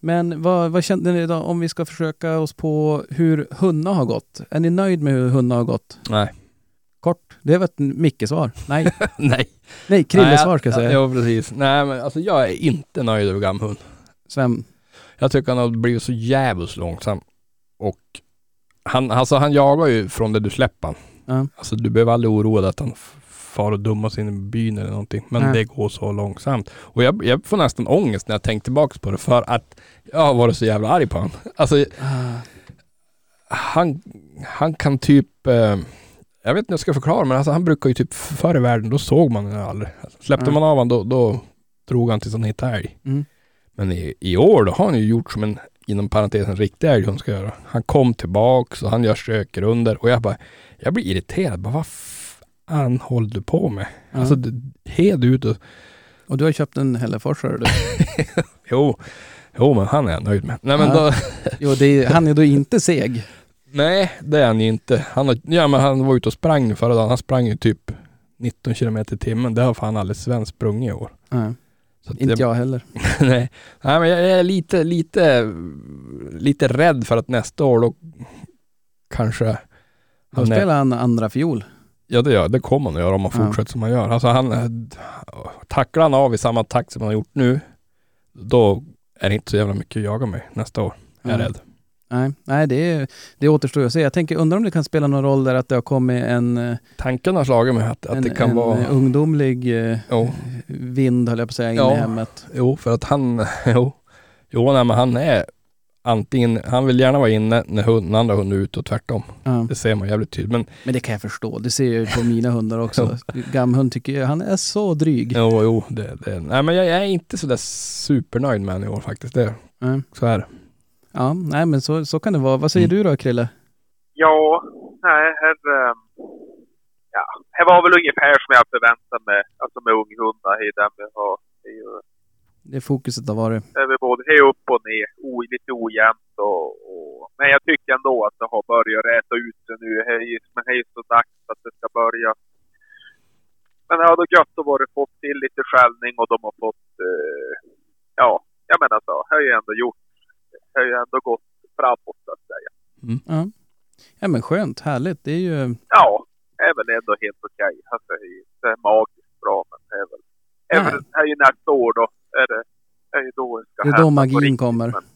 S3: Men vad, vad kände ni då om vi ska försöka oss på hur hundarna har gått? Är ni nöjd med hur hundarna har gått?
S4: Nej.
S3: Kort, det var ett Micke-svar. Nej,
S4: Nej.
S3: nej, Krille-svar ska jag
S4: Nej,
S3: säga.
S4: Ja, precis. Nej, men alltså jag är inte nöjd över Gamhund.
S3: Sven,
S4: Jag tycker han har blivit så jävligt långsam. Och han, alltså han jagar ju från det du släpper han.
S3: Ja.
S4: Alltså du behöver aldrig oroa dig att han f- far och dummar sig in i byn eller någonting. Men
S3: Nej.
S4: det går så långsamt. Och jag, jag får nästan ångest när jag tänker tillbaka på det för att jag har varit så jävla arg på honom. Alltså
S3: Ah,
S4: han, han kan typ, eh, jag vet inte hur jag ska förklara men alltså han brukar ju typ förr i världen, då såg man den aldrig. Alltså, släppte
S3: Mm.
S4: man av honom då, då drog han tills han hittade älg.
S3: Mm.
S4: Men i, i år då har han ju gjort som en, inom parentesen, riktig älghund ska göra. Han kom tillbaks och han gör sökrunder och jag bara, jag blir irriterad. Bara, vad fan håller du på med?
S3: Ja.
S4: Alltså, det- hed ut och,
S3: Och du har köpt en Helleforsare du.
S4: jo, jo men han är jag nöjd med. Nej men
S3: Ja.
S4: då,
S3: Jo, det är, han är då inte seg.
S4: Nej, det är han ju inte. Han, har, ja, men han var ute och sprang nu förra dagen. Han sprang ju typ 19 kilometer i timmen. Det har fan aldrig svensk sprungit i år.
S3: Nej,
S4: Så att
S3: inte
S4: det-
S3: jag heller.
S4: nej. nej, men jag är lite, lite, lite rädd för att nästa år då kanske...
S3: Då
S4: Han är-
S3: spelar han andra fiol.
S4: Ja, det, gör, det kommer han att göra om han
S3: Ja.
S4: fortsätter som han gör. Alltså han, tacklar han av i samma takt som han har gjort nu, då är det inte så jävla mycket att jaga med nästa år. Jag är
S3: Ja.
S4: rädd.
S3: Nej, nej det, är, det återstår att se. Jag tänker, undrar om det kan spela någon roll där att det har kommit en, eh,
S4: Tanken har slagit mig att, att
S3: en,
S4: det kan
S3: en
S4: vara...
S3: eh, ungdomlig eh,
S4: Jo.
S3: vind, höll jag på att säga, in
S4: Ja.
S3: i hemmet.
S4: Jo, för att han, jo, jo nej, men han är antingen, han vill gärna vara inne när hund, den andra hunden är ute och tvärtom.
S3: Ja.
S4: Det ser man jävligt tydligt. Men
S3: Men det kan jag förstå. Det ser jag ju på mina hundar också. Gamhund tycker jag, han är så dryg.
S4: jo, jo, det, det, nej men jag, jag är inte sådär supernöjd med honom i år faktiskt. Det,
S3: Nej.
S4: så är det.
S3: Ja, nej men så, så kan det vara. Vad säger
S4: Mm.
S3: du då Krille?
S5: Ja, nej, här... ehm, Ja, det var väl ungefär som jag förväntade mig. Alltså med unghundar, det är den vi har. Det är ju-
S3: Det fokuset har varit.
S5: Det är väl både det är upp och ner, o, lite ojämnt och, och... Men jag tycker ändå att det har börjat räta ut sig nu. Det är ju- Men det är ju så dags att det ska börja. Men det hade gött att vara fått till lite skällning och de har fått... Eh, ja, jag menar så. Det har ju ändå gjort... Det har ju ändå gått framåt så att säga.
S3: Ja. ja men skönt, härligt. Det är ju,
S5: Ja, det är väl ändå helt okej. Alltså, det är inte magiskt bra, men det är väl... Det är, väl, det är ju nästa år då. Är det, det är ju då det ska
S3: det är
S5: hända
S3: då
S5: på
S3: magin
S5: riktigt,
S3: kommer.
S5: men-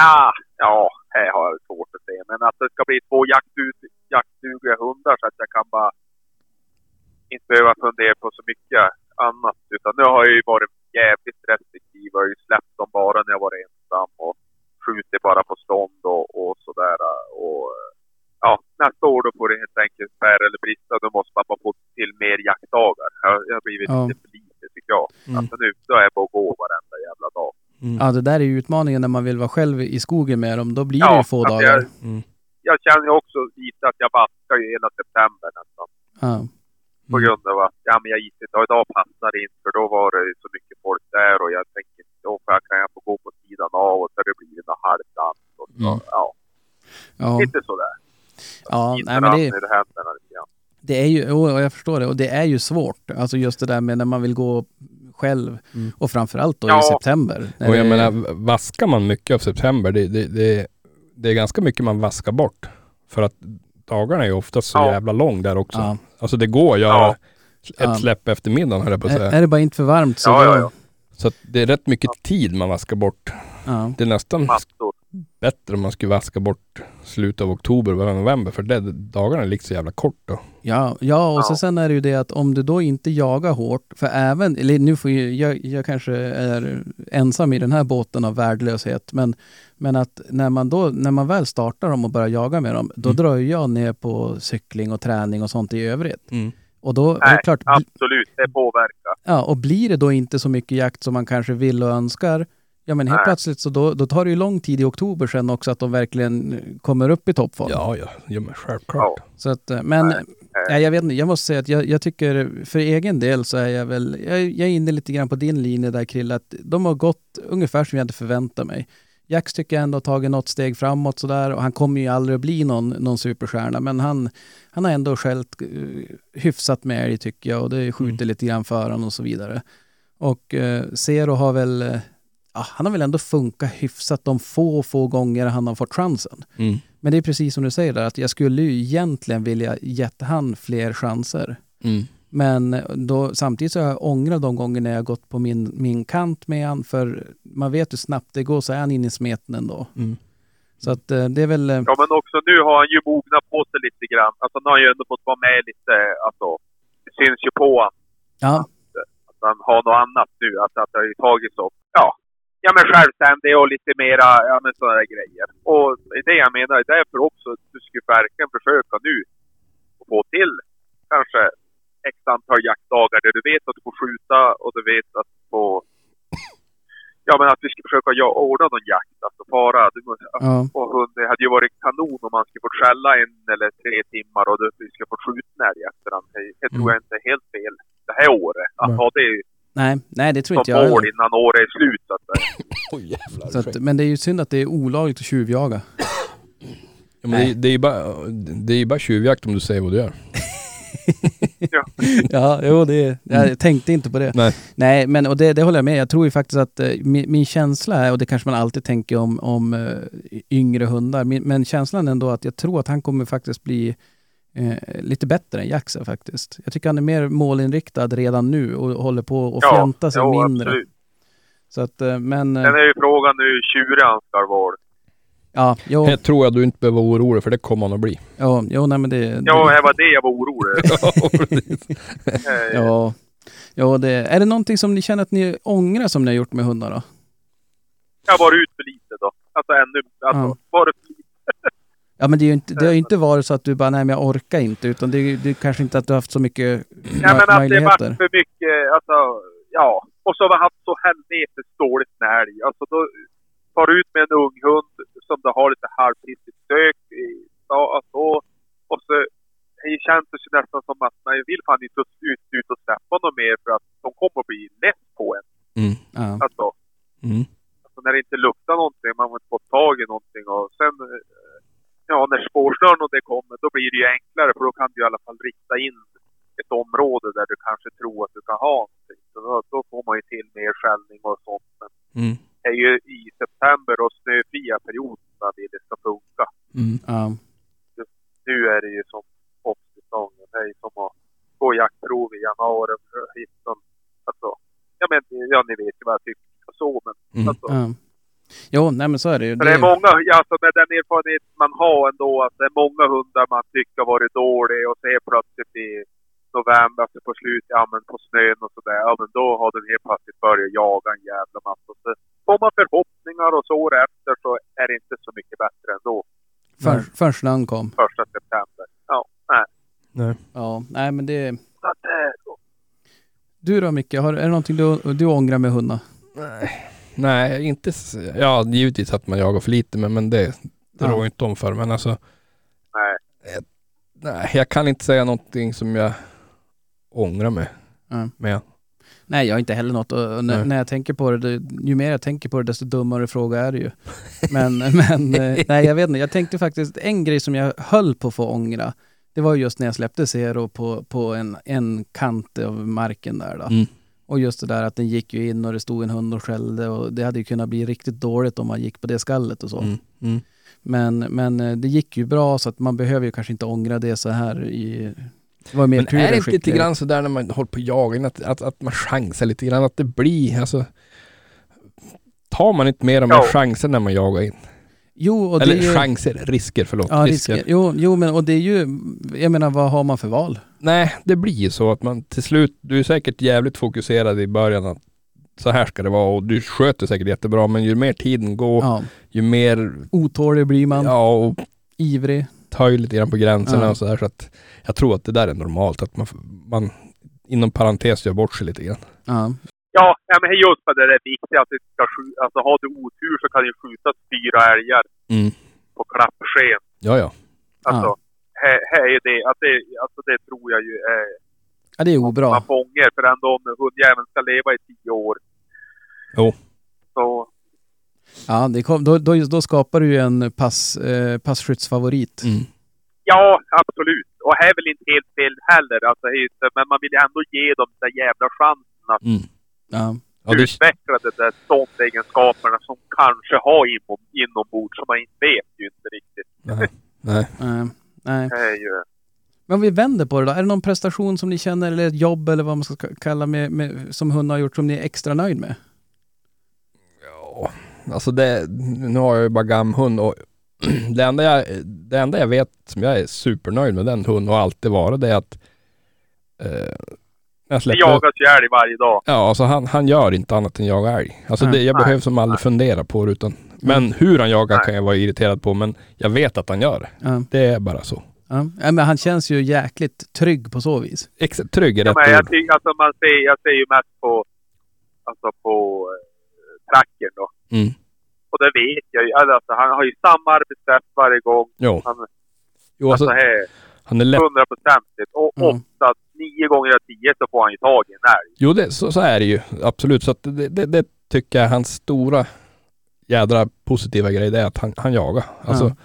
S5: Ja, ja, här har jag svårt att se. Men att det ska bli två jaktdu- jaktdugliga hundar så att jag kan bara inte behöva fundera på så mycket annat. Utan nu har jag ju varit jävligt restriktiv. Jag har ju släppt dem bara när jag var ensam och skjutit bara på stånd och, och sådär. Och ja, nästa år då får det helt enkelt bära eller brista. Då måste man bara få till mer jaktdagar. Jag- Jag har blivit
S3: Ja.
S5: lite för lite tycker jag.
S4: Mm.
S5: Alltså nu, då är jag på att gå varenda jävla dag. Mm.
S3: Ja, det där är ju utmaningen när man vill vara själv i skogen med dem. Då blir det ju få
S5: alltså
S3: dagar.
S5: Jag,
S4: Mm.
S5: jag känner ju också lite att jag baskar ju hela september nästan.
S3: Ja.
S5: På
S3: Mm.
S5: grund av att, ja men jag gick inte, och idag passar det inte för då var det ju så mycket folk där och jag tänker, då får jag, kan jag få gå på sidan av och så har det blir en halvdans. och så.
S4: Mm.
S5: Ja,
S3: Ja,
S5: lite sådär.
S3: ja.
S5: Lite
S3: Nej, men det,
S5: rann i det händerna lite grann.
S3: det är ju, jo, jag förstår det, och det är ju svårt. Alltså just det där med när man vill gå själv och framförallt då
S5: Mm. Ja.
S3: i september. när
S4: Och jag
S3: det-
S4: menar, vaskar man mycket av september, det, det, det, det är ganska mycket man vaskar bort. För att dagarna är ju oftast så
S5: Ja.
S4: jävla lång där också.
S3: ja.
S4: Alltså det går att göra
S5: Ja.
S3: Ja.
S4: ett släpp efter middagen höll jag på att
S3: är,
S4: säga.
S3: är det bara inte för varmt så
S5: Ja,
S3: då,
S5: ja, ja.
S4: Så att det är rätt mycket tid man vaskar bort.
S3: ja.
S4: Det är nästan
S5: massor.
S4: bättre om man skulle vaska bort slutet av oktober och början av november. För det, dagarna är liksom så jävla kort då.
S3: Ja, ja och Så
S5: Ja.
S3: sen är det ju det att om du då inte jagar hårt, för även, eller nu får ju, jag, jag kanske är ensam i den här båten av värdelöshet, men, men att när man då, när man väl startar dem och börjar jaga med dem,
S5: Mm.
S3: då drar ju jag ner på cykling och träning och sånt i övrigt.
S4: Mm.
S3: Och då, är
S5: Nej,
S3: det klart, bl-
S5: absolut. Det påverkar.
S3: ja, och blir det då inte så mycket jakt som man kanske vill och önskar, ja men helt
S5: Nej.
S3: plötsligt så då, då tar det ju lång tid i oktober sen också att de verkligen kommer upp i toppform.
S4: Ja, ja. ja men självklart.
S3: Så att, eh, men nej, jag vet inte, jag måste säga att jag, jag tycker för egen del så är jag väl, jag, jag är inne lite grann på din linje där Krille, att de har gått ungefär som jag hade förväntat mig. Jax tycker jag ändå har tagit något steg framåt sådär och han kommer ju aldrig att bli någon, någon superstjärna men han, han har ändå skällt eh, hyfsat med älg tycker jag och det skjuter lite grann för honom och så vidare. Och eh, Zero har väl, eh, ja, han har väl ändå funkat hyfsat de få, få gånger han har fått chansen.
S4: Mm.
S3: Men det är precis som du säger där, att jag skulle ju egentligen vilja gett han fler chanser.
S4: Mm.
S3: Men då, samtidigt så har jag ångrat de gånger när jag gått på min, min kant med han, för man vet hur snabbt det går så är han inne i smeten ändå.
S4: Mm.
S3: Så att eh, det är väl, eh,
S5: Ja, men också nu har han ju mognat på sig lite grann. Alltså, nu har han ju ändå fått vara med lite. Alltså, det syns ju på honom
S3: ja,
S5: att han har något annat nu. Alltså, att det har ju tagits upp. Ja. Ja, men självständig och lite mera ja, men sådana där grejer. Och det är det jag menar. Det är därför också att du skulle verkligen försöka nu och få till kanske x antal jaktdagar där du vet att du får skjuta och du vet att du får... Ja, men att vi ska försöka ja, ordna någon jakt. Alltså fara. Du, måste-
S3: ja,
S5: och hund, det hade ju varit kanon om man skulle fått skälla en eller tre timmar och du skulle få skjuta en älg efter den. Det- Det tror jag inte är helt fel det här året. Att
S3: Mm. Nej.
S5: ha det
S3: nej, nej det tror inte
S5: som
S3: jag
S5: mål
S3: heller.
S5: innan året är slut så att säga.
S4: Oj jävlar.
S3: så att, Men det är ju synd att det är olagligt att tjuvjaga.
S4: ja, men det, det är ju bara, det är ju bara tjuvjakt om du säger vad du gör.
S3: Ja, jo, det, jag tänkte inte på det.
S4: Nej.
S3: Nej, men och det, det håller jag med. Jag tror ju faktiskt att eh, min, min känsla är, och det kanske man alltid tänker om, om eh, yngre hundar, min, men känslan är ändå att jag tror att han kommer faktiskt bli eh, lite bättre än Jackson faktiskt. Jag tycker han är mer målinriktad redan nu och håller på att fjanta sig
S5: jo,
S3: mindre.
S5: absolut.
S3: Så att, eh, men eh,
S5: Sen är ju frågan nu hur tjurig han ska vara.
S3: ja, jo,
S4: Här tror jag du inte behöver vara orolig för det kommer han att bli.
S3: jo, jo, nej men det...
S5: Ja, det var det jag var orolig över. Eh,
S3: ja, ja det, är det någonting som ni känner att ni ångrar som ni har gjort med hundar då?
S5: Jag har varit ut för lite då. Alltså ännu... Alltså,
S3: Ja.
S5: var det,
S3: Ja men det, är ju inte, det har ju inte varit så att du bara, nej men jag orkar inte, utan det är, ju- det är kanske inte att du har haft så mycket
S5: nej, men att det
S3: möjligheter.
S5: var för mycket, alltså... Ja. Och så har vi haft så helvetes dåligt med älg. Alltså då far ut med en ung hund som du har lite halvpissigt sök i. Ja, alltså, och så det känns det ju nästan som att man vill fan inte ut, ut och släppa honom mer för att de kommer att bli less på en.
S4: Mm.
S3: Ja,
S5: Alltså,
S4: Mm.
S5: alltså när det inte luktar någonting, man har inte fått tag i någonting. Och sen, eh, ja, när spårsnören och det kommer, då blir det ju enklare för då kan du i alla fall rikta in ett område där du kanske tror att du kan ha någonting. Så då, då får man ju till mer skällning och sånt. Men
S4: Mm.
S5: det är ju i september och snöfria perioderna det det ska funka.
S4: Mm.
S3: ja,
S5: Nu är det ju som hoppsäsongen. Det är ju som att gå jaktprov i januari. hit som- Alltså, ja men ja, ni vet ju vad jag tycker och så men
S4: Mm.
S5: alltså,
S3: ja. Jo, nej men så är det ju.
S5: Men det
S3: Det-
S5: är många, ja, alltså med den erfarenhet man har ändå, att det är många hundar man tycker har varit dålig och så helt plötsligt i november, alltså på slutet, ja men på snön och sådär, ja men då har den helt plötsligt börjat jaga en jävla massa. Så får man förhoppningar och så år efter så är det inte så mycket bättre ändå,
S3: Förrän förrän snön kom.
S5: första september. Ja, nej.
S3: Ja, nej men det...
S5: Så att, eh,
S3: Du då Micke, har, är det någonting du, du ångrar med hundar?
S4: Nej, inte... s- Ja, givetvis att man jagar för lite, men, men det, det
S3: Ja.
S4: rår jag inte om för. Men alltså...
S5: Nej.
S4: Eh, Nej, jag kan inte säga någonting som jag ångrar mig
S3: Ja.
S4: med.
S3: Nej, jag har inte heller något. Och, och när,
S4: Nej.
S3: när jag tänker på det, det, ju mer jag tänker på det desto dummare fråga är det ju. Men, men eh, nej, jag vet inte. Jag tänkte faktiskt, en grej som jag höll på att få ångra, det var ju just när jag släppte Zero på, på en, en kant av marken där då.
S4: Mm.
S3: Och just det där att den gick ju in och det stod en hund och skällde och det hade ju kunnat bli riktigt dåligt om man gick på det skallet och så.
S4: Mm. Mm.
S3: Men, men eh, det gick ju bra så att man behöver ju kanske inte ångra det så här i... Det var mer
S4: Men
S3: tur
S4: är
S3: än
S4: det inte lite
S3: skicklighet.
S4: grann sådär när man håller på och jagar, att, att, att man chansar lite grann, att det blir, alltså Tar man inte mer av
S5: Ja.
S4: chanser när man jagar in?
S3: Jo, och
S4: Eller
S3: det är ju...
S4: chanser, risker, förlåt.
S3: Ja, risker. Jo, jo, men och det är ju... Jag menar, vad har man för val?
S4: Nej, det blir ju så att man till slut, du är säkert jävligt fokuserad i början att så här ska det vara och du sköter säkert jättebra men ju mer tiden går,
S3: Ja.
S4: ju mer,
S3: Otålig blir man,
S4: ja och
S3: ivrig.
S4: tar ju lite grann på gränserna
S3: Ja.
S4: och så där så att jag tror att det där är normalt att man, man inom parentes gör bort sig lite grann.
S3: Ja.
S5: Ja, ja, men just det där är viktigt att det ska skjuta, alltså har du otur så kan du skjuta fyra älgar
S4: Mm.
S5: på klappsken.
S4: Ja, ja.
S5: Alltså,
S3: Ja.
S5: här, här är det, att det, alltså det tror jag ju är,
S3: ja, det är obra.
S5: man fångar för ändå om hundjäveln ska leva i tio år.
S4: Jo.
S5: Så,
S3: Ja, det kom, då, då, då skapar du ju en pass, eh, passskyddsfavorit.
S4: Mm.
S5: ja, absolut. Och här är väl inte helt fel heller, alltså, här är ju- men man vill ju ändå ge dem den där jävla chansen att
S4: Mm.
S3: Ja.
S4: Ja, det,
S5: utveckla de där ståndegenskaperna som kanske har inom, inombords, som man inte vet ju inte riktigt.
S4: nej.
S3: Nej. Nej.
S5: Det är ju,
S3: Men om vi vänder på det då, är det någon prestation som ni känner eller ett jobb eller vad man ska k- kalla med, med, som hunden har gjort som ni är extra nöjd med?
S4: Ja, alltså det, nu har jag ju bara gamhund och det enda, jag, det enda jag vet som jag är supernöjd med den hunden och har alltid varit det är att eh, när jag
S5: det
S4: släpper
S5: jagas ju älg varje dag.
S4: Ja, alltså han, han gör inte annat än jagar älg. Alltså
S3: Nej.
S4: det, jag
S5: Nej. Mm.
S4: behöver som aldrig fundera på det utan, men hur han jagar kan jag vara irriterad på, men jag vet att han gör det.
S3: Ja.
S4: Det är bara så.
S3: Ja. Ja, men han känns ju jäkligt trygg på så vis.
S4: Ex- trygg är
S5: Ja, men
S4: rätt
S5: jag,
S4: ord.
S5: ty, alltså man ser, jag ser ju mest på, alltså på eh, tracken då.
S4: Mm.
S5: Och det vet jag ju. Alltså, han har ju samma arbetssätt varje gång.
S4: Jo.
S5: Han-
S4: jo,
S5: Alltså,
S4: alltså
S5: här,
S4: han är lätt.
S5: hundraprocentigt. Och
S4: Mm.
S3: Ja.
S5: ofta, nio gånger av tio så får han ju tag i en älg.
S4: Jo, det, så, så är det ju. Absolut. Så att det, det, det tycker jag är hans stora jädra positiva grej, det är att han, han jagar. Alltså,
S3: Ja.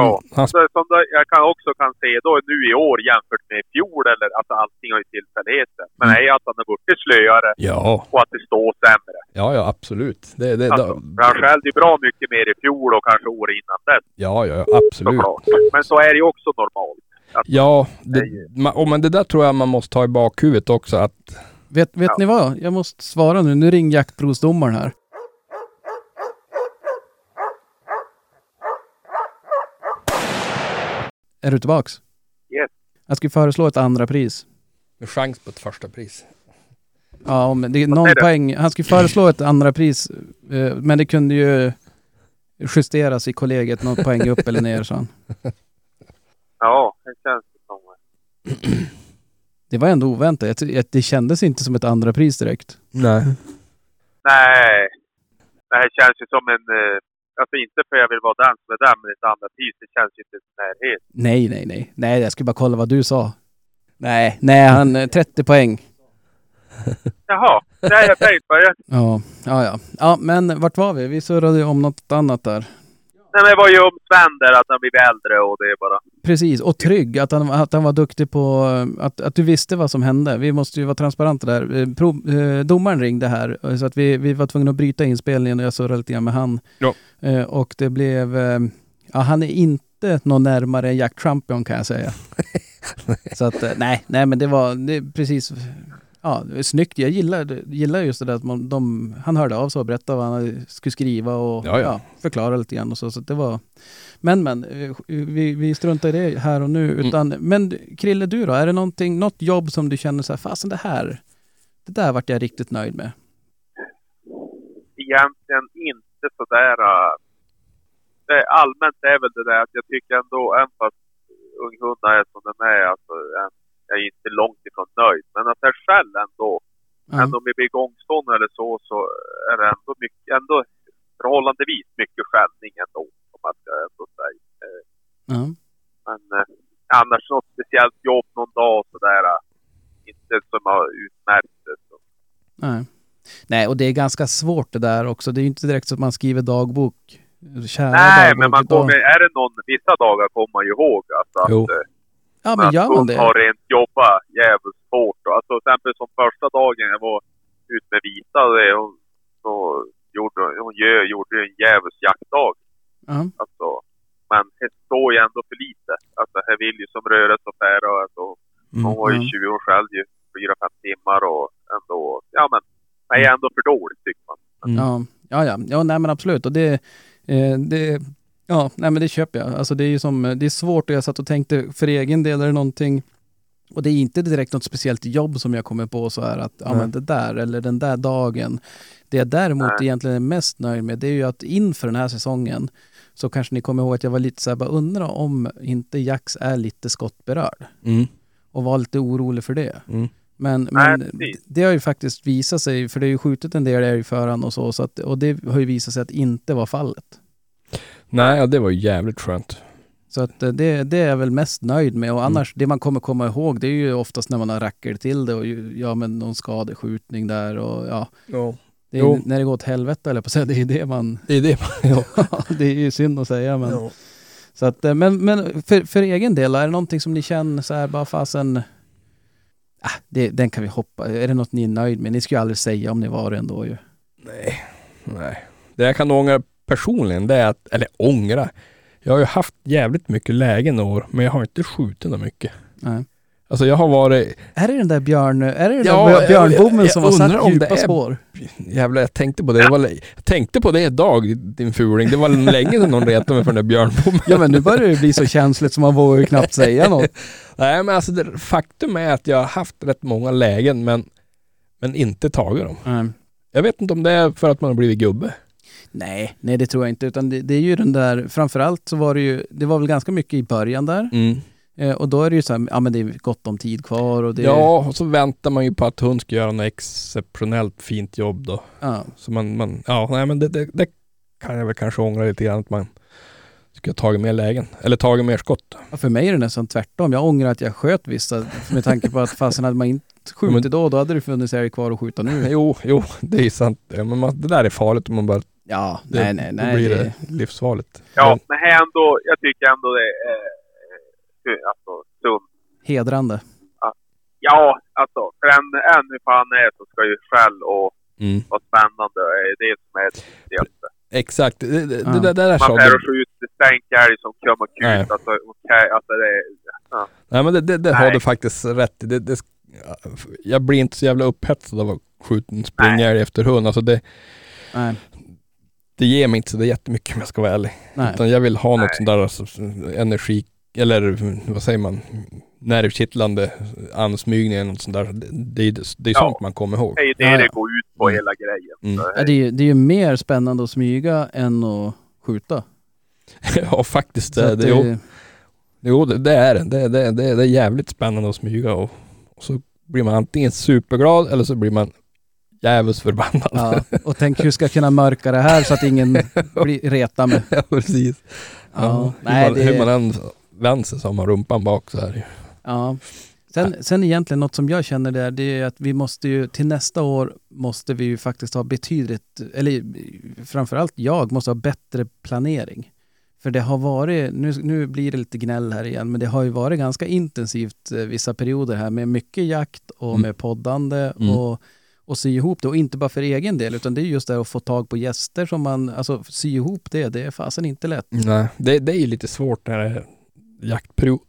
S4: han,
S5: Ja.
S4: han,
S5: Så som det, jag kan också kan se då nu i år jämfört med i fjol, eller att allting har ju tillfälligheter. Men
S4: Mm.
S5: det är att han har blivit slöare
S4: ja,
S5: och att det står sämre.
S4: ja, ja, absolut. Det, det,
S5: Alltså, för han skällde ju bra mycket mer i fjol och kanske året innan dess
S4: ja, ja, ja, absolut.
S5: såklart. Men så är det ju också normalt.
S4: Ja,
S5: Det är
S4: det,
S5: ju-
S4: ma, oh, men det där tror jag man måste ha i bakhuvudet också, att
S3: Vet, vet ni vad? Jag måste svara nu. Nu ring jaktprovsdomaren här. Är du tillbaks?
S5: Yes.
S3: Jag skulle föreslå ett andra pris.
S4: med chans på ett första pris.
S3: Ja, men det är någon
S5: säger du?
S3: poäng. Han skulle föreslå ett andra pris, eh, men det kunde ju justeras i kollegiet, någon poäng upp eller ner, sa han.
S5: Ja, det känns det som.
S3: Det var ändå oväntat. Jag ty- jag- Det kändes inte som ett andra pris direkt.
S4: Nej.
S5: Nej. Det här känns ju som en... eh, Alltså inte för jag vill vara den som är den, men ett annat pris. Det känns ju inte som närhet.
S3: Nej, nej, nej. Nej, jag skulle bara kolla vad du sa. Nej, nej, han eh, 30 poäng.
S5: Jaha. Nej, jag tänkte bara... jag-
S3: Ja, ja, ja. Ja, men vart var vi? Vi surrade ju om något annat där.
S5: Nej, men det var ju om Sven där, att han blivit äldre och det bara...
S3: Precis, och trygg. Att han, att han var duktig på... eh, Att, att du visste vad som hände. Vi måste ju vara transparenta där. Eh, Prov, eh, domaren ringde här, eh, så att vi, vi var tvungna att bryta inspelningen och jag surrade lite grann med han.
S4: Ja.
S3: Eh, och det blev... Eh, ja, han är inte någon närmare Jack Trumpion kan jag säga. så att, eh, nej, nej men det var det, är precis... Ja, det är snyggt. Jag gillar, gillar just det där att man, de, han hörde av sig och berättade vad han skulle skriva och
S4: Ja, ja.
S3: förklara lite grann och så. så att det var, men men, eh, vi, vi struntar i det här och
S4: Mm.
S3: nu. Utan, Men Krille, du då? Är det någonting, något jobb som du känner så här, fasen det här, det där vart jag riktigt nöjd med?
S5: egentligen inte sådär... äh, Det är allmänt är väl det där att jag tycker ändå, även fast unghundarna är som de är, alltså, äh, jag är inte långt ifrån nöjd. Men att jag själv ändå,
S3: Ja.
S5: även om vi blir igångstående eller så, så är det ändå mycket, ändå förhållandevis mycket skällning ändå, om man ska ändå säga.
S3: Ja.
S5: Men eh, annars något speciellt jobb någon dag sådär, äh, inte som har utmärkt det. Så.
S3: Nej. Nej, och det är ganska svårt det där också. Det är ju inte direkt så att man skriver dagbok. Kära
S5: Nej,
S3: dagbok
S5: men man
S3: idag.
S5: kommer, är det någon, vissa dagar kommer man ju ihåg alltså
S4: Jo.
S5: att eh,
S3: Ja, men gör man
S5: hon
S3: det?
S5: har rent jobbat jävligt hårt. Alltså till exempel som första dagen jag var ut med vita och det. Hon, så gjorde, hon gör, gjorde ju en djävulsk jaktdag.
S3: Ja.
S5: Alltså, men det står ju ändå för lite. Alltså, här vill ju som röret och färre och ändå. Hon var ju
S3: Mm.
S5: 20 år själv ju. 4-5 timmar och ändå, ja men. Nej, ändå för dåligt tycker man.
S3: Ja, ja, ja, ja nej men absolut. Och det, eh, det, ja, nej men det köper jag. Alltså det är ju som, eh, det är svårt och jag satt och tänkte för egen del är det någonting, och det är inte direkt något speciellt jobb som jag kommer på så här att, ja men det där eller den där dagen. Det jag däremot egentligen är mest nöjd med det är ju att inför den här säsongen så kanske ni kommer ihåg att jag var lite så här, bara undra om inte Jax är lite skottberörd
S4: Mm.
S3: och var lite orolig för det.
S4: Mm.
S3: Men,
S5: Nej,
S3: men
S5: precis.
S3: det har ju faktiskt visat sig, för det är ju skjutit en del älg för han och så, så att, och det har ju visat sig att inte var fallet.
S4: Nej, ja, det var ju jävligt skönt.
S3: Så att eh, det, det är jag väl mest nöjd med och annars, det man kommer komma ihåg, det är ju oftast när man har rackel till det och ju, ja men någon skadeskjutning där och ja,
S4: Ja.
S3: det
S4: Jo.
S3: är, när det går åt helvete eller på att säga, det är ju det man,
S4: Det är det man... Ja.
S3: det är ju synd att säga men. Så att, eh, men, men för, för egen del, är det någonting som ni känner så här, bara fasen, ah, det, den kan vi hoppa, är det något ni är nöjd med? Ni skulle ju aldrig säga om ni var det ändå ju.
S4: Nej, nej. Det jag kan ångra personligen, det är att, eller ångra. Jag har ju haft jävligt mycket lägen i år, men jag har inte skjutit något mycket.
S3: Nej.
S4: Alltså jag har varit,
S3: Är det den där björn, är det den
S4: Ja,
S3: där
S4: jag-
S3: björ- björnbommen
S4: jag
S3: som har
S4: undrar
S3: satt
S4: om det
S3: djupa
S4: är-
S3: spår?
S4: jävlar jag tänkte på det, det var, lä- jag tänkte på det idag din fuling. Det var länge sedan någon retade mig för den där björnbommen.
S3: Ja men nu börjar det bli så känsligt som man vågar ju knappt säga något.
S4: Nej men alltså det, faktum är att jag har haft rätt många lägen men, men inte tagit dem. Jag vet inte om det är för att man har blivit gubbe.
S3: Nej, nej det tror jag inte utan det, det är ju den där, framförallt så var det ju, det var väl ganska mycket i början där eh, och då är det ju så här, ja men det är gott om tid kvar och det
S4: Ja, och så väntar man ju på att hon ska göra något exceptionellt fint jobb då.
S3: ja.
S4: Så man, man ja, nej men det, det, det kan jag väl kanske ångra lite grann att man skulle ha tagit mer lägen. Eller tagit mer skott.
S3: Ja, För mig är det nästan tvärtom. Jag ångrar att jag sköt vissa med tanke på att fasen hade man inte skjutit
S4: Men-
S3: då, då hade det funnits älg kvar att skjuta nu.
S4: Jo, jo, det är sant. Ja, Men man, det där är farligt om man bara...
S3: Ja,
S4: Det,
S3: nej, nej, nej.
S4: Då blir
S3: det-
S4: det livsfarligt.
S5: Ja, men här ändå, jag tycker ändå det är eh, alltså, sunt.
S3: Hedrande.
S5: Ja, alltså, för än, än hur fan det är så ska ju skäll och
S4: Men, mm.
S5: vara spännande. Det är det som är det viktigaste.
S4: Exakt. Det, det,
S3: Ja.
S4: det, där- Alltså, det där
S5: Man
S4: sa
S5: kan
S4: du.
S5: ju skjuta stänk älg som kommer
S4: Nej.
S5: ut. Alltså, okej, alltså det är...
S4: Nej, men det, det, det har
S5: Nej.
S4: du faktiskt rätt i. Det, det, jag blir inte så jävla upphetsad av att skjuta en springälg efter hund. Alltså det,
S3: Nej,
S4: det ger mig inte så där jättemycket om jag ska vara ärlig.
S3: nej.
S4: Utan jag vill ha något sånt där alltså, energi, eller vad säger man, nervkittlande ansmygning eller något sånt där. Det, det, är- det är
S5: Ja.
S4: sånt man kommer ihåg.
S5: Det är ju det
S3: Ja, ja.
S5: det går ut på
S4: Mm.
S5: hela grejen.
S4: Mm.
S5: Så,
S3: Ja, det, är ju, det är ju mer spännande att smyga än att skjuta.
S4: ja, faktiskt.
S3: Så
S4: Det,
S3: att
S4: det, jo, jo, det, det är det. Det, det, det. det är jävligt spännande att smyga och, och så blir man antingen superglad eller så blir man djävulskt förbannad.
S3: ja. Och tänk hur ska jag kunna mörka det här så att ingen blir retar mig.
S4: Ja, precis. Ja.
S3: Ja,
S4: hur,
S3: nej,
S4: man, hur man
S3: det,
S4: än vänder sig så har man rumpan bak så här. ju.
S3: ja. Sen, sen egentligen något som jag känner där, det är att vi måste ju, till nästa år måste vi ju faktiskt ha betydligt, eller framförallt jag måste ha bättre planering. För det har varit, nu, nu blir det lite gnäll här igen, men det har ju varit ganska intensivt eh, vissa perioder här med mycket jakt och
S4: Mm.
S3: med poddande
S4: Mm.
S3: och, och sy ihop det. Och inte bara för egen del, utan det är just det att få tag på gäster som man, alltså sy ihop det, det är fasen inte lätt.
S4: Nej, det, det är ju lite svårt när det är jaktperiod.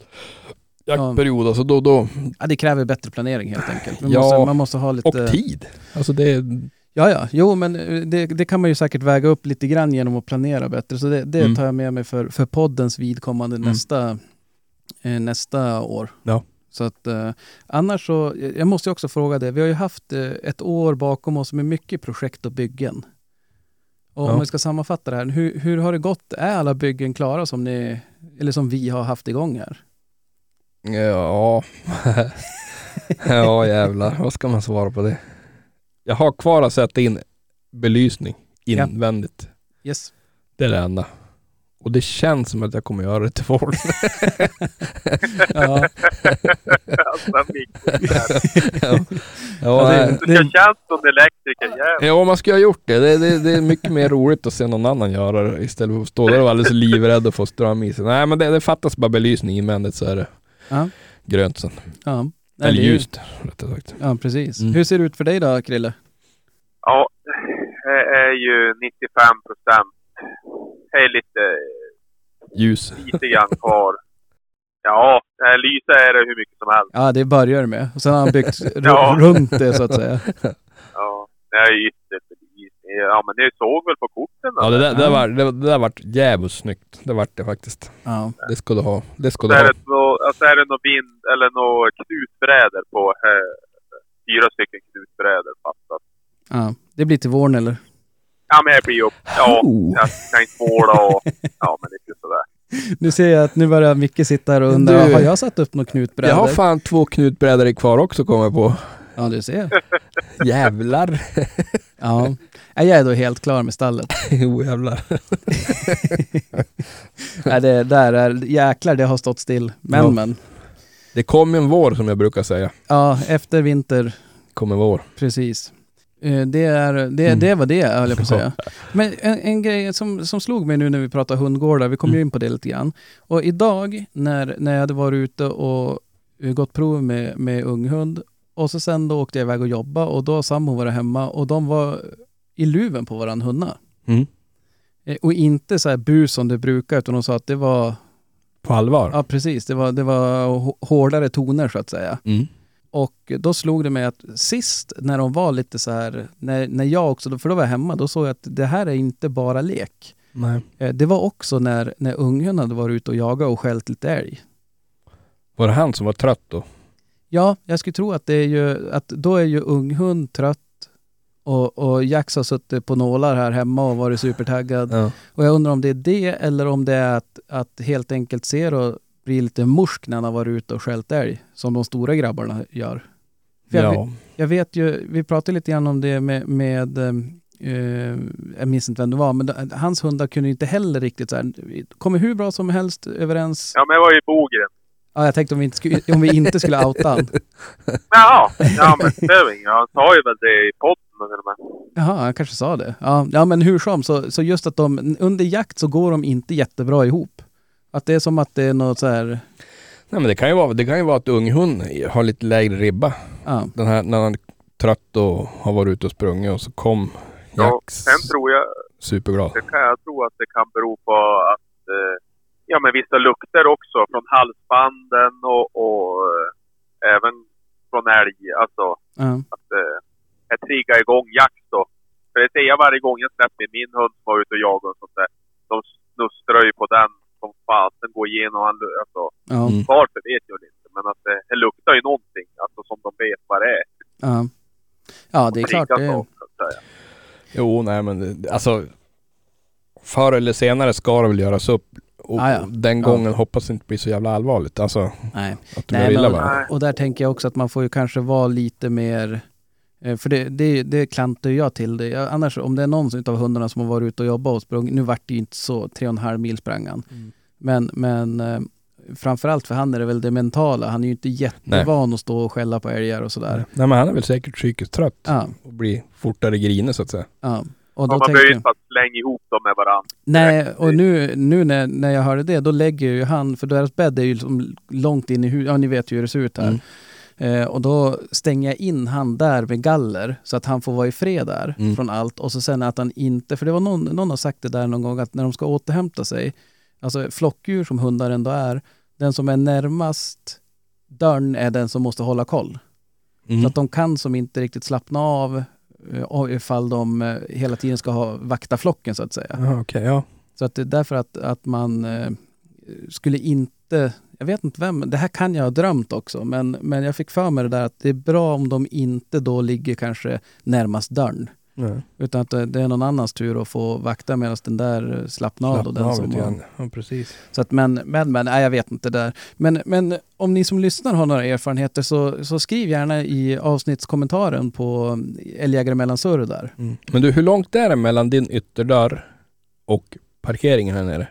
S4: Jaktperiod, alltså då, då,
S3: Ja, det kräver bättre planering helt enkelt. Man,
S4: Ja,
S3: måste, man måste ha lite...
S4: och tid. Alltså det är,
S3: Ja, ja. Jo, men eh, det, det kan man ju säkert väga upp lite grann genom att planera bättre. Så det, det
S4: Mm.
S3: tar jag med mig för, för poddens vidkommande
S4: Mm.
S3: nästa, eh, nästa år.
S4: Ja.
S3: Så att eh, annars så, eh, jag måste ju också fråga det. Vi har ju haft eh, ett år bakom oss med mycket projekt och byggen. Och om
S4: Ja.
S3: vi ska sammanfatta det här, hur, hur har det gått? Är alla byggen klara som ni, eller som vi har haft igång här?
S4: ja, ja jävlar, vad ska man svara på det? Jag har kvar att sätta in belysning
S3: Ja.
S4: invändigt.
S3: Yes.
S4: Det är det enda. Och det känns som att jag kommer göra det till våren.
S3: Ja,
S5: alltså, det är viktigt.
S4: ja,
S3: Ja,
S4: ja,
S3: det-
S4: nej.
S5: Du ska känna som elektriker jävlar.
S4: ja, man skulle ha gjort det. Det, det. det är mycket mer roligt att se någon annan göra det istället för att stå där och vara alldeles livrädd och få ström i sig. Nej, men det, det fattas bara belysning invändigt så är det
S3: Ja.
S4: grönt sen.
S3: ja. Nej,
S4: Eller
S3: det är ju-
S4: ljust, rättare sagt.
S3: Ja, precis.
S4: Mm.
S3: Hur ser det ut för dig då, Krille?
S5: Ja, det är ju 95 procent. Det är lite,
S4: Ljus.
S5: lite grann kvar. Ja, det här lyset är det hur mycket som helst.
S3: Ja, det börjar det med. Och sen har han byggt ru-
S5: Ja.
S3: runt det så att säga.
S5: Ja, det är ytterst lite. Ja, men ni såg väl på korten?
S4: Ja,
S5: eller?
S4: det där, det där, var, det, det där vart jävligt snyggt. Det vart det faktiskt.
S3: Ja.
S4: Det ska du ha. Det ska
S5: Så
S4: du
S5: är
S4: ha.
S5: det nå- alltså är det någon vind eller några knutbrädor på eh, fyra stycken knutbrädor fattat.
S3: ja. Det blir till våren eller?
S5: Ja men jag blir upp. Ja,
S4: Oh.
S5: jag kan inte vårda och ja men lite sådär.
S3: Nu ser jag att nu börjar Micke sitta här och undra,
S4: Du-
S3: har jag satt upp några knutbrädor?
S4: Jag har fan två knutbrädor kvar också kommer jag på.
S3: Ja, du ser.
S4: Jävlar.
S3: Ja. Nej, Jag är då helt klar med stallet.
S4: jo, jävlar.
S3: Nej, det där är, jäklar det har stått still. Men
S4: Ja.
S3: men.
S4: Det kom en vår som jag brukar säga.
S3: Ja, efter vinter,
S4: Kom en vår.
S3: precis. Eh, Det, är, det, det var det, höll jag på att säga. Men en, en grej som, som slog mig nu när vi pratar hundgårdar, vi kom ju in på det lite grann. Och idag när, när jag hade varit ute och eh, gått prov med, med unghund och så sen då åkte jag iväg och jobba och då sambo var hemma och de var i luven på våran hunna.
S4: Mm.
S3: Eh, Och inte så här bus som det brukar utan de sa att det var,
S4: På allvar.
S3: ja precis, det var, det var hå- hårdare toner så att säga.
S4: Mm.
S3: Och då slog det mig att sist när de var lite så här, när, när jag också, för då var jag hemma, då såg jag att det här är inte bara lek.
S4: Nej.
S3: Eh, Det var också när, när ungen hade varit ute och jagat och skällt lite älg.
S4: Var det han som var trött då?
S3: Ja, jag skulle tro att det är ju, att då är ju unghund trött och, och Jax har suttit på nålar här hemma och varit supertaggad.
S4: Ja.
S3: Och jag undrar om det är det eller om det är att, att helt enkelt ser och blir lite morsk när han har varit ute och skällt älg, som de stora grabbarna gör. För jag
S4: Ja.
S3: Jag vet ju, vi pratade lite grann om det med, med eh, jag minns inte vem det var, men d- hans hundar kunde ju inte heller riktigt så här, kommer hur bra som helst överens. Ja.
S5: Ja men jag var ju i Bogren.
S3: jag tänkte om vi inte skulle, om vi inte skulle outa han.
S5: Jaha, ja men det är väl inget. Han sa ju väl det i podden till och med.
S3: Jaha, han kanske sa det. Ja, ja men hur som, så, så just att de, under jakt så går de inte jättebra ihop. Att det är som att det är något så här,
S4: Nej, men det kan ju vara, det kan ju vara att unghund har lite lägre ribba.
S3: ja,
S4: Den här, när han är trött och har varit ute och sprungit och så kom
S5: Ja,
S4: Jax
S5: sen tror jag,
S4: superglad.
S5: det kan, jag tror att det kan bero på att eh, ja men vissa lukter också från halsbanden och, och eh, även från älg. Alltså
S3: ja,
S5: att eh, jag triggar igång jakt då. För det ser jag varje gång jag släpper in min hund som var ute och jagade och sånt där. De snustrar ju på den som fasen, går igenom. Han, lu- alltså,
S3: ja,
S4: Mm.
S5: varför vet jag inte. Men att det, det luktar ju någonting, alltså som de vet vad det är.
S3: ja. Ja, det är klart.
S5: Triggas
S3: Det,
S5: av, så att säga.
S4: Jo, nej men det- alltså. Förr eller senare ska det väl göras upp. Och
S3: Ah, ja.
S4: den
S3: Ja.
S4: gången hoppas det inte blir så jävla allvarligt. Alltså
S3: nej.
S4: att du blir
S3: Nej,
S4: illa
S3: men,
S4: va?
S3: och, och där tänker jag också att man får ju kanske vara lite mer eh, för det, det, det klantar ju jag till det. Jag, annars om det är någon av hundarna som har varit ute och jobbat och sprungit, nu vart det ju inte så, tre och en halv mil sprang han. Men, men eh, framförallt för han är det väl det mentala. Han är ju inte jättevan att stå och skälla på älgar och sådär.
S4: Nej men han är väl säkert psykiskt trött
S3: Ja,
S4: och blir fortare grinig så att säga.
S3: ja. Och
S5: Ja,
S3: då
S5: man
S3: tänker
S5: behöver ju
S3: jag,
S5: inte bara slänga ihop dem med varandra.
S3: nej, och nu, nu när, när jag hörde det, då lägger ju han, för deras bädd är ju liksom långt in i huset, ja ni vet ju hur det ser ut här.
S4: Mm.
S3: Eh, och då stänger jag in han där med galler så att han får vara i fred där
S4: Mm.
S3: från allt. Och så sen att han inte, för det var någon, någon har sagt det där någon gång att när de ska återhämta sig, alltså flockdjur som hundar ändå är, den som är närmast dörren är den som måste hålla koll.
S4: Mm.
S3: Så att de kan som inte riktigt slappna av eh, och ifall de eh, hela tiden ska ha, vakta flocken så att säga.
S4: Ja, okej, ja.
S3: Så att det är därför att, att man eh, skulle inte, jag vet inte vem, det här kan jag ha drömt också, men, men jag fick för mig det där att det är bra om de inte då ligger kanske närmast dörren.
S4: Nej,
S3: Utan att det det är någon annans tur att få vakta medan den där eh, slappnar av. då,
S4: Slappna
S3: den
S4: av
S3: som
S4: lite
S3: har-
S4: grann. Ja, precis.
S3: så att men, men, men, nej jag vet inte där. Men, men om ni som lyssnar har några erfarenheter så, så skriv gärna i avsnittskommentaren på Älgjägare mellan surr där.
S4: Mm. Men du, hur långt är det mellan din ytterdörr och parkeringen här nere?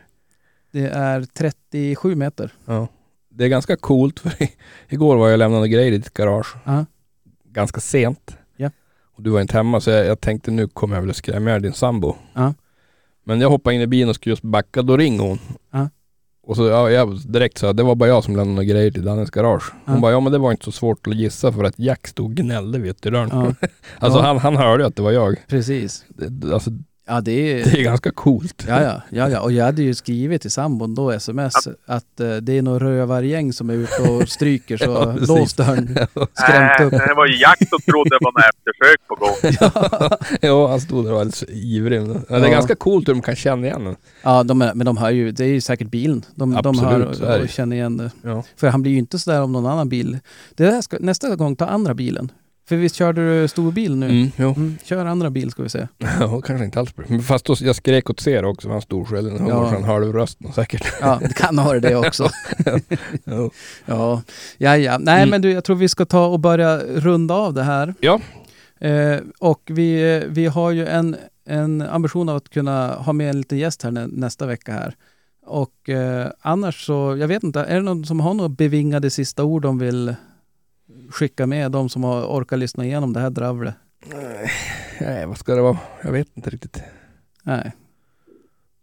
S3: Det är 37 meter.
S4: Ja. Det är ganska coolt för i- igår var jag och lämnade grejer i ditt garage.
S3: Ja.
S4: Ganska sent.
S3: Ja.
S4: Och du var inte hemma så jag, jag tänkte nu kommer jag väl att skrämma ihjäl din sambo.
S3: Ja.
S4: Men jag hoppade in i bilen och skulle just backa, då ringer hon.
S3: Ja.
S4: Och så ja, jag direkt sa det var bara jag som lämnade grejer till Dannes garage. Hon
S3: Ja.
S4: bara, ja men det var inte så svårt att gissa för att Jack stod och gnällde vid ytterdörren.
S3: Ja.
S4: alltså
S3: Ja.
S4: han, han hörde ju att det var jag.
S3: Precis.
S4: Det- det- Alltså
S3: Ja, det är...
S4: det är ganska coolt.
S3: Ja, ja, ja, ja, och jag hade ju skrivit till sambon då, sms, att eh, det är något rövargäng som är ute och stryker så
S4: Ja, precis.
S3: lås dörren. Skrämt upp.
S5: Äh, det var ju Jack som trodde det var något eftersök på gång.
S4: ja, han stod där och var alldeles ivrig. Men Det är
S3: Ja.
S4: ganska coolt hur de kan känna igen en.
S3: Ja, de, är- men de hör ju, det är ju säkert bilen. De, de
S4: Absolut, så är
S3: hör
S4: det.
S3: och känner igen det.
S4: Ja.
S3: För han blir ju inte sådär om någon annan bil. Det där ska, nästa gång, ta andra bilen. För visst körde du storbil nu? Mm.
S4: Mm, jo.
S3: kör andra bil ska vi se.
S4: Ja, kanske inte alls bra. Men Fast då, jag skrek åt Ser också, han stod själv. Han
S3: Ja.
S4: ja. en halv röst säkert.
S3: Ja, det kan ha det också.
S4: Ja.
S3: Ja, ja, ja. Nej,
S4: Mm.
S3: men du, jag tror vi ska ta och börja runda av det här.
S4: Ja.
S3: Eh, och vi, eh, vi har ju en, en ambition av att kunna ha med en liten gäst här nä, nästa vecka här. Och eh, annars så, jag vet inte, är det någon som har några bevingade sista ord de vill skicka med, de som har orkat lyssna igenom det här dravlet?
S4: Nej, vad ska det vara? Jag vet inte riktigt.
S3: Nej.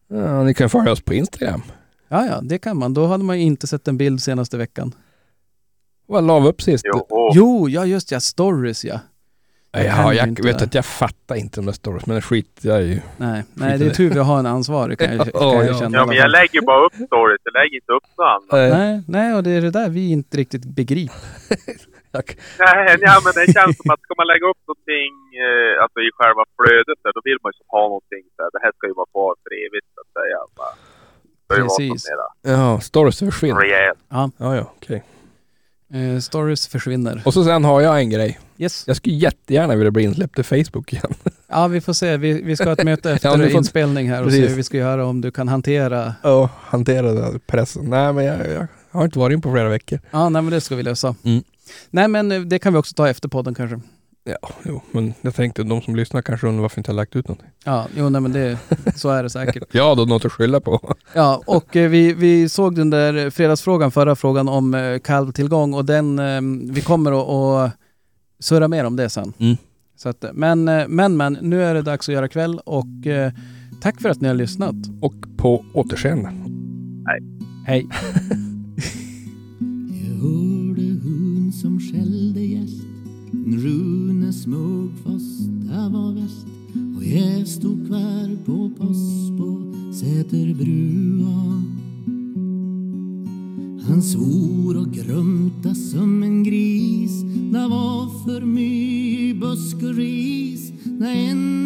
S4: Ja, ni kan följa oss på Instagram.
S3: Ja, ja, det kan man. Då hade man ju inte sett en bild senaste veckan.
S4: Vad la vi upp sist?
S5: Jo, och
S3: Jo, ja just ja, stories ja.
S4: Nej,
S3: kan
S4: ja,
S3: ju
S4: jag
S3: inte.
S4: vet att jag fattar inte de där stories, men det skit jag ju.
S3: Nej, nej det är tur vi har en ansvarig kan jag, kan
S4: Ja,
S3: jag
S4: ja.
S3: känna. i
S5: Ja,
S3: alla
S5: men
S3: fall.
S5: jag lägger bara upp stories. Jag lägger inte upp något annat.
S4: Eh.
S3: Nej, nej, och det är det där vi inte riktigt begriper.
S4: Jag-
S5: Nej, nej, men det känns som att ska man lägga upp någonting eh, alltså i själva flödet där, då vill man ju ha någonting där. Det här ska ju vara kvar för evigt så att säga. Va? Det ska ju vara
S3: Precis.
S5: något mera
S4: Ja, stories försvinner.
S5: rejält.
S4: Ja, ja, okej.
S3: Eh, stories försvinner.
S4: Och så sen har jag en grej.
S3: Yes.
S4: Jag skulle jättegärna vilja bli insläppt i Facebook igen.
S3: Ja, vi får se. Vi, vi ska ha ett möte efter
S4: ni får-
S3: inspelning här och se
S4: Precis.
S3: hur vi ska göra om du kan hantera.
S4: Ja, hantera den här pressen. Nej, men jag, jag har inte varit in på flera veckor.
S3: Ja, nej, men det ska vi lösa.
S4: Mm.
S3: Nej, men eh, det kan vi också ta efter podden kanske.
S4: Ja, jo, men jag tänkte de som lyssnar kanske undrar varför inte jag lagt ut någonting.
S3: Ja, jo, nej, men det, så är det säkert.
S4: Ja, då något att skylla på.
S3: Ja, och eh, vi, vi såg den där fredagsfrågan, förra frågan om eh, kalvtillgång och den, eh, vi kommer att, att surra mer om det sen.
S4: Mm.
S3: Så att, eh, men, eh, men, men, nu är det dags att göra kväll och eh, tack för att ni har lyssnat.
S4: Och på återseende.
S3: Hej!
S2: Jag hörde hon som skällde gäst Rune Smugfors, där var väst Och jag stod kvar på post på Säterbrua Han svor och grumta som en gris Det var för mycket busk och ris När en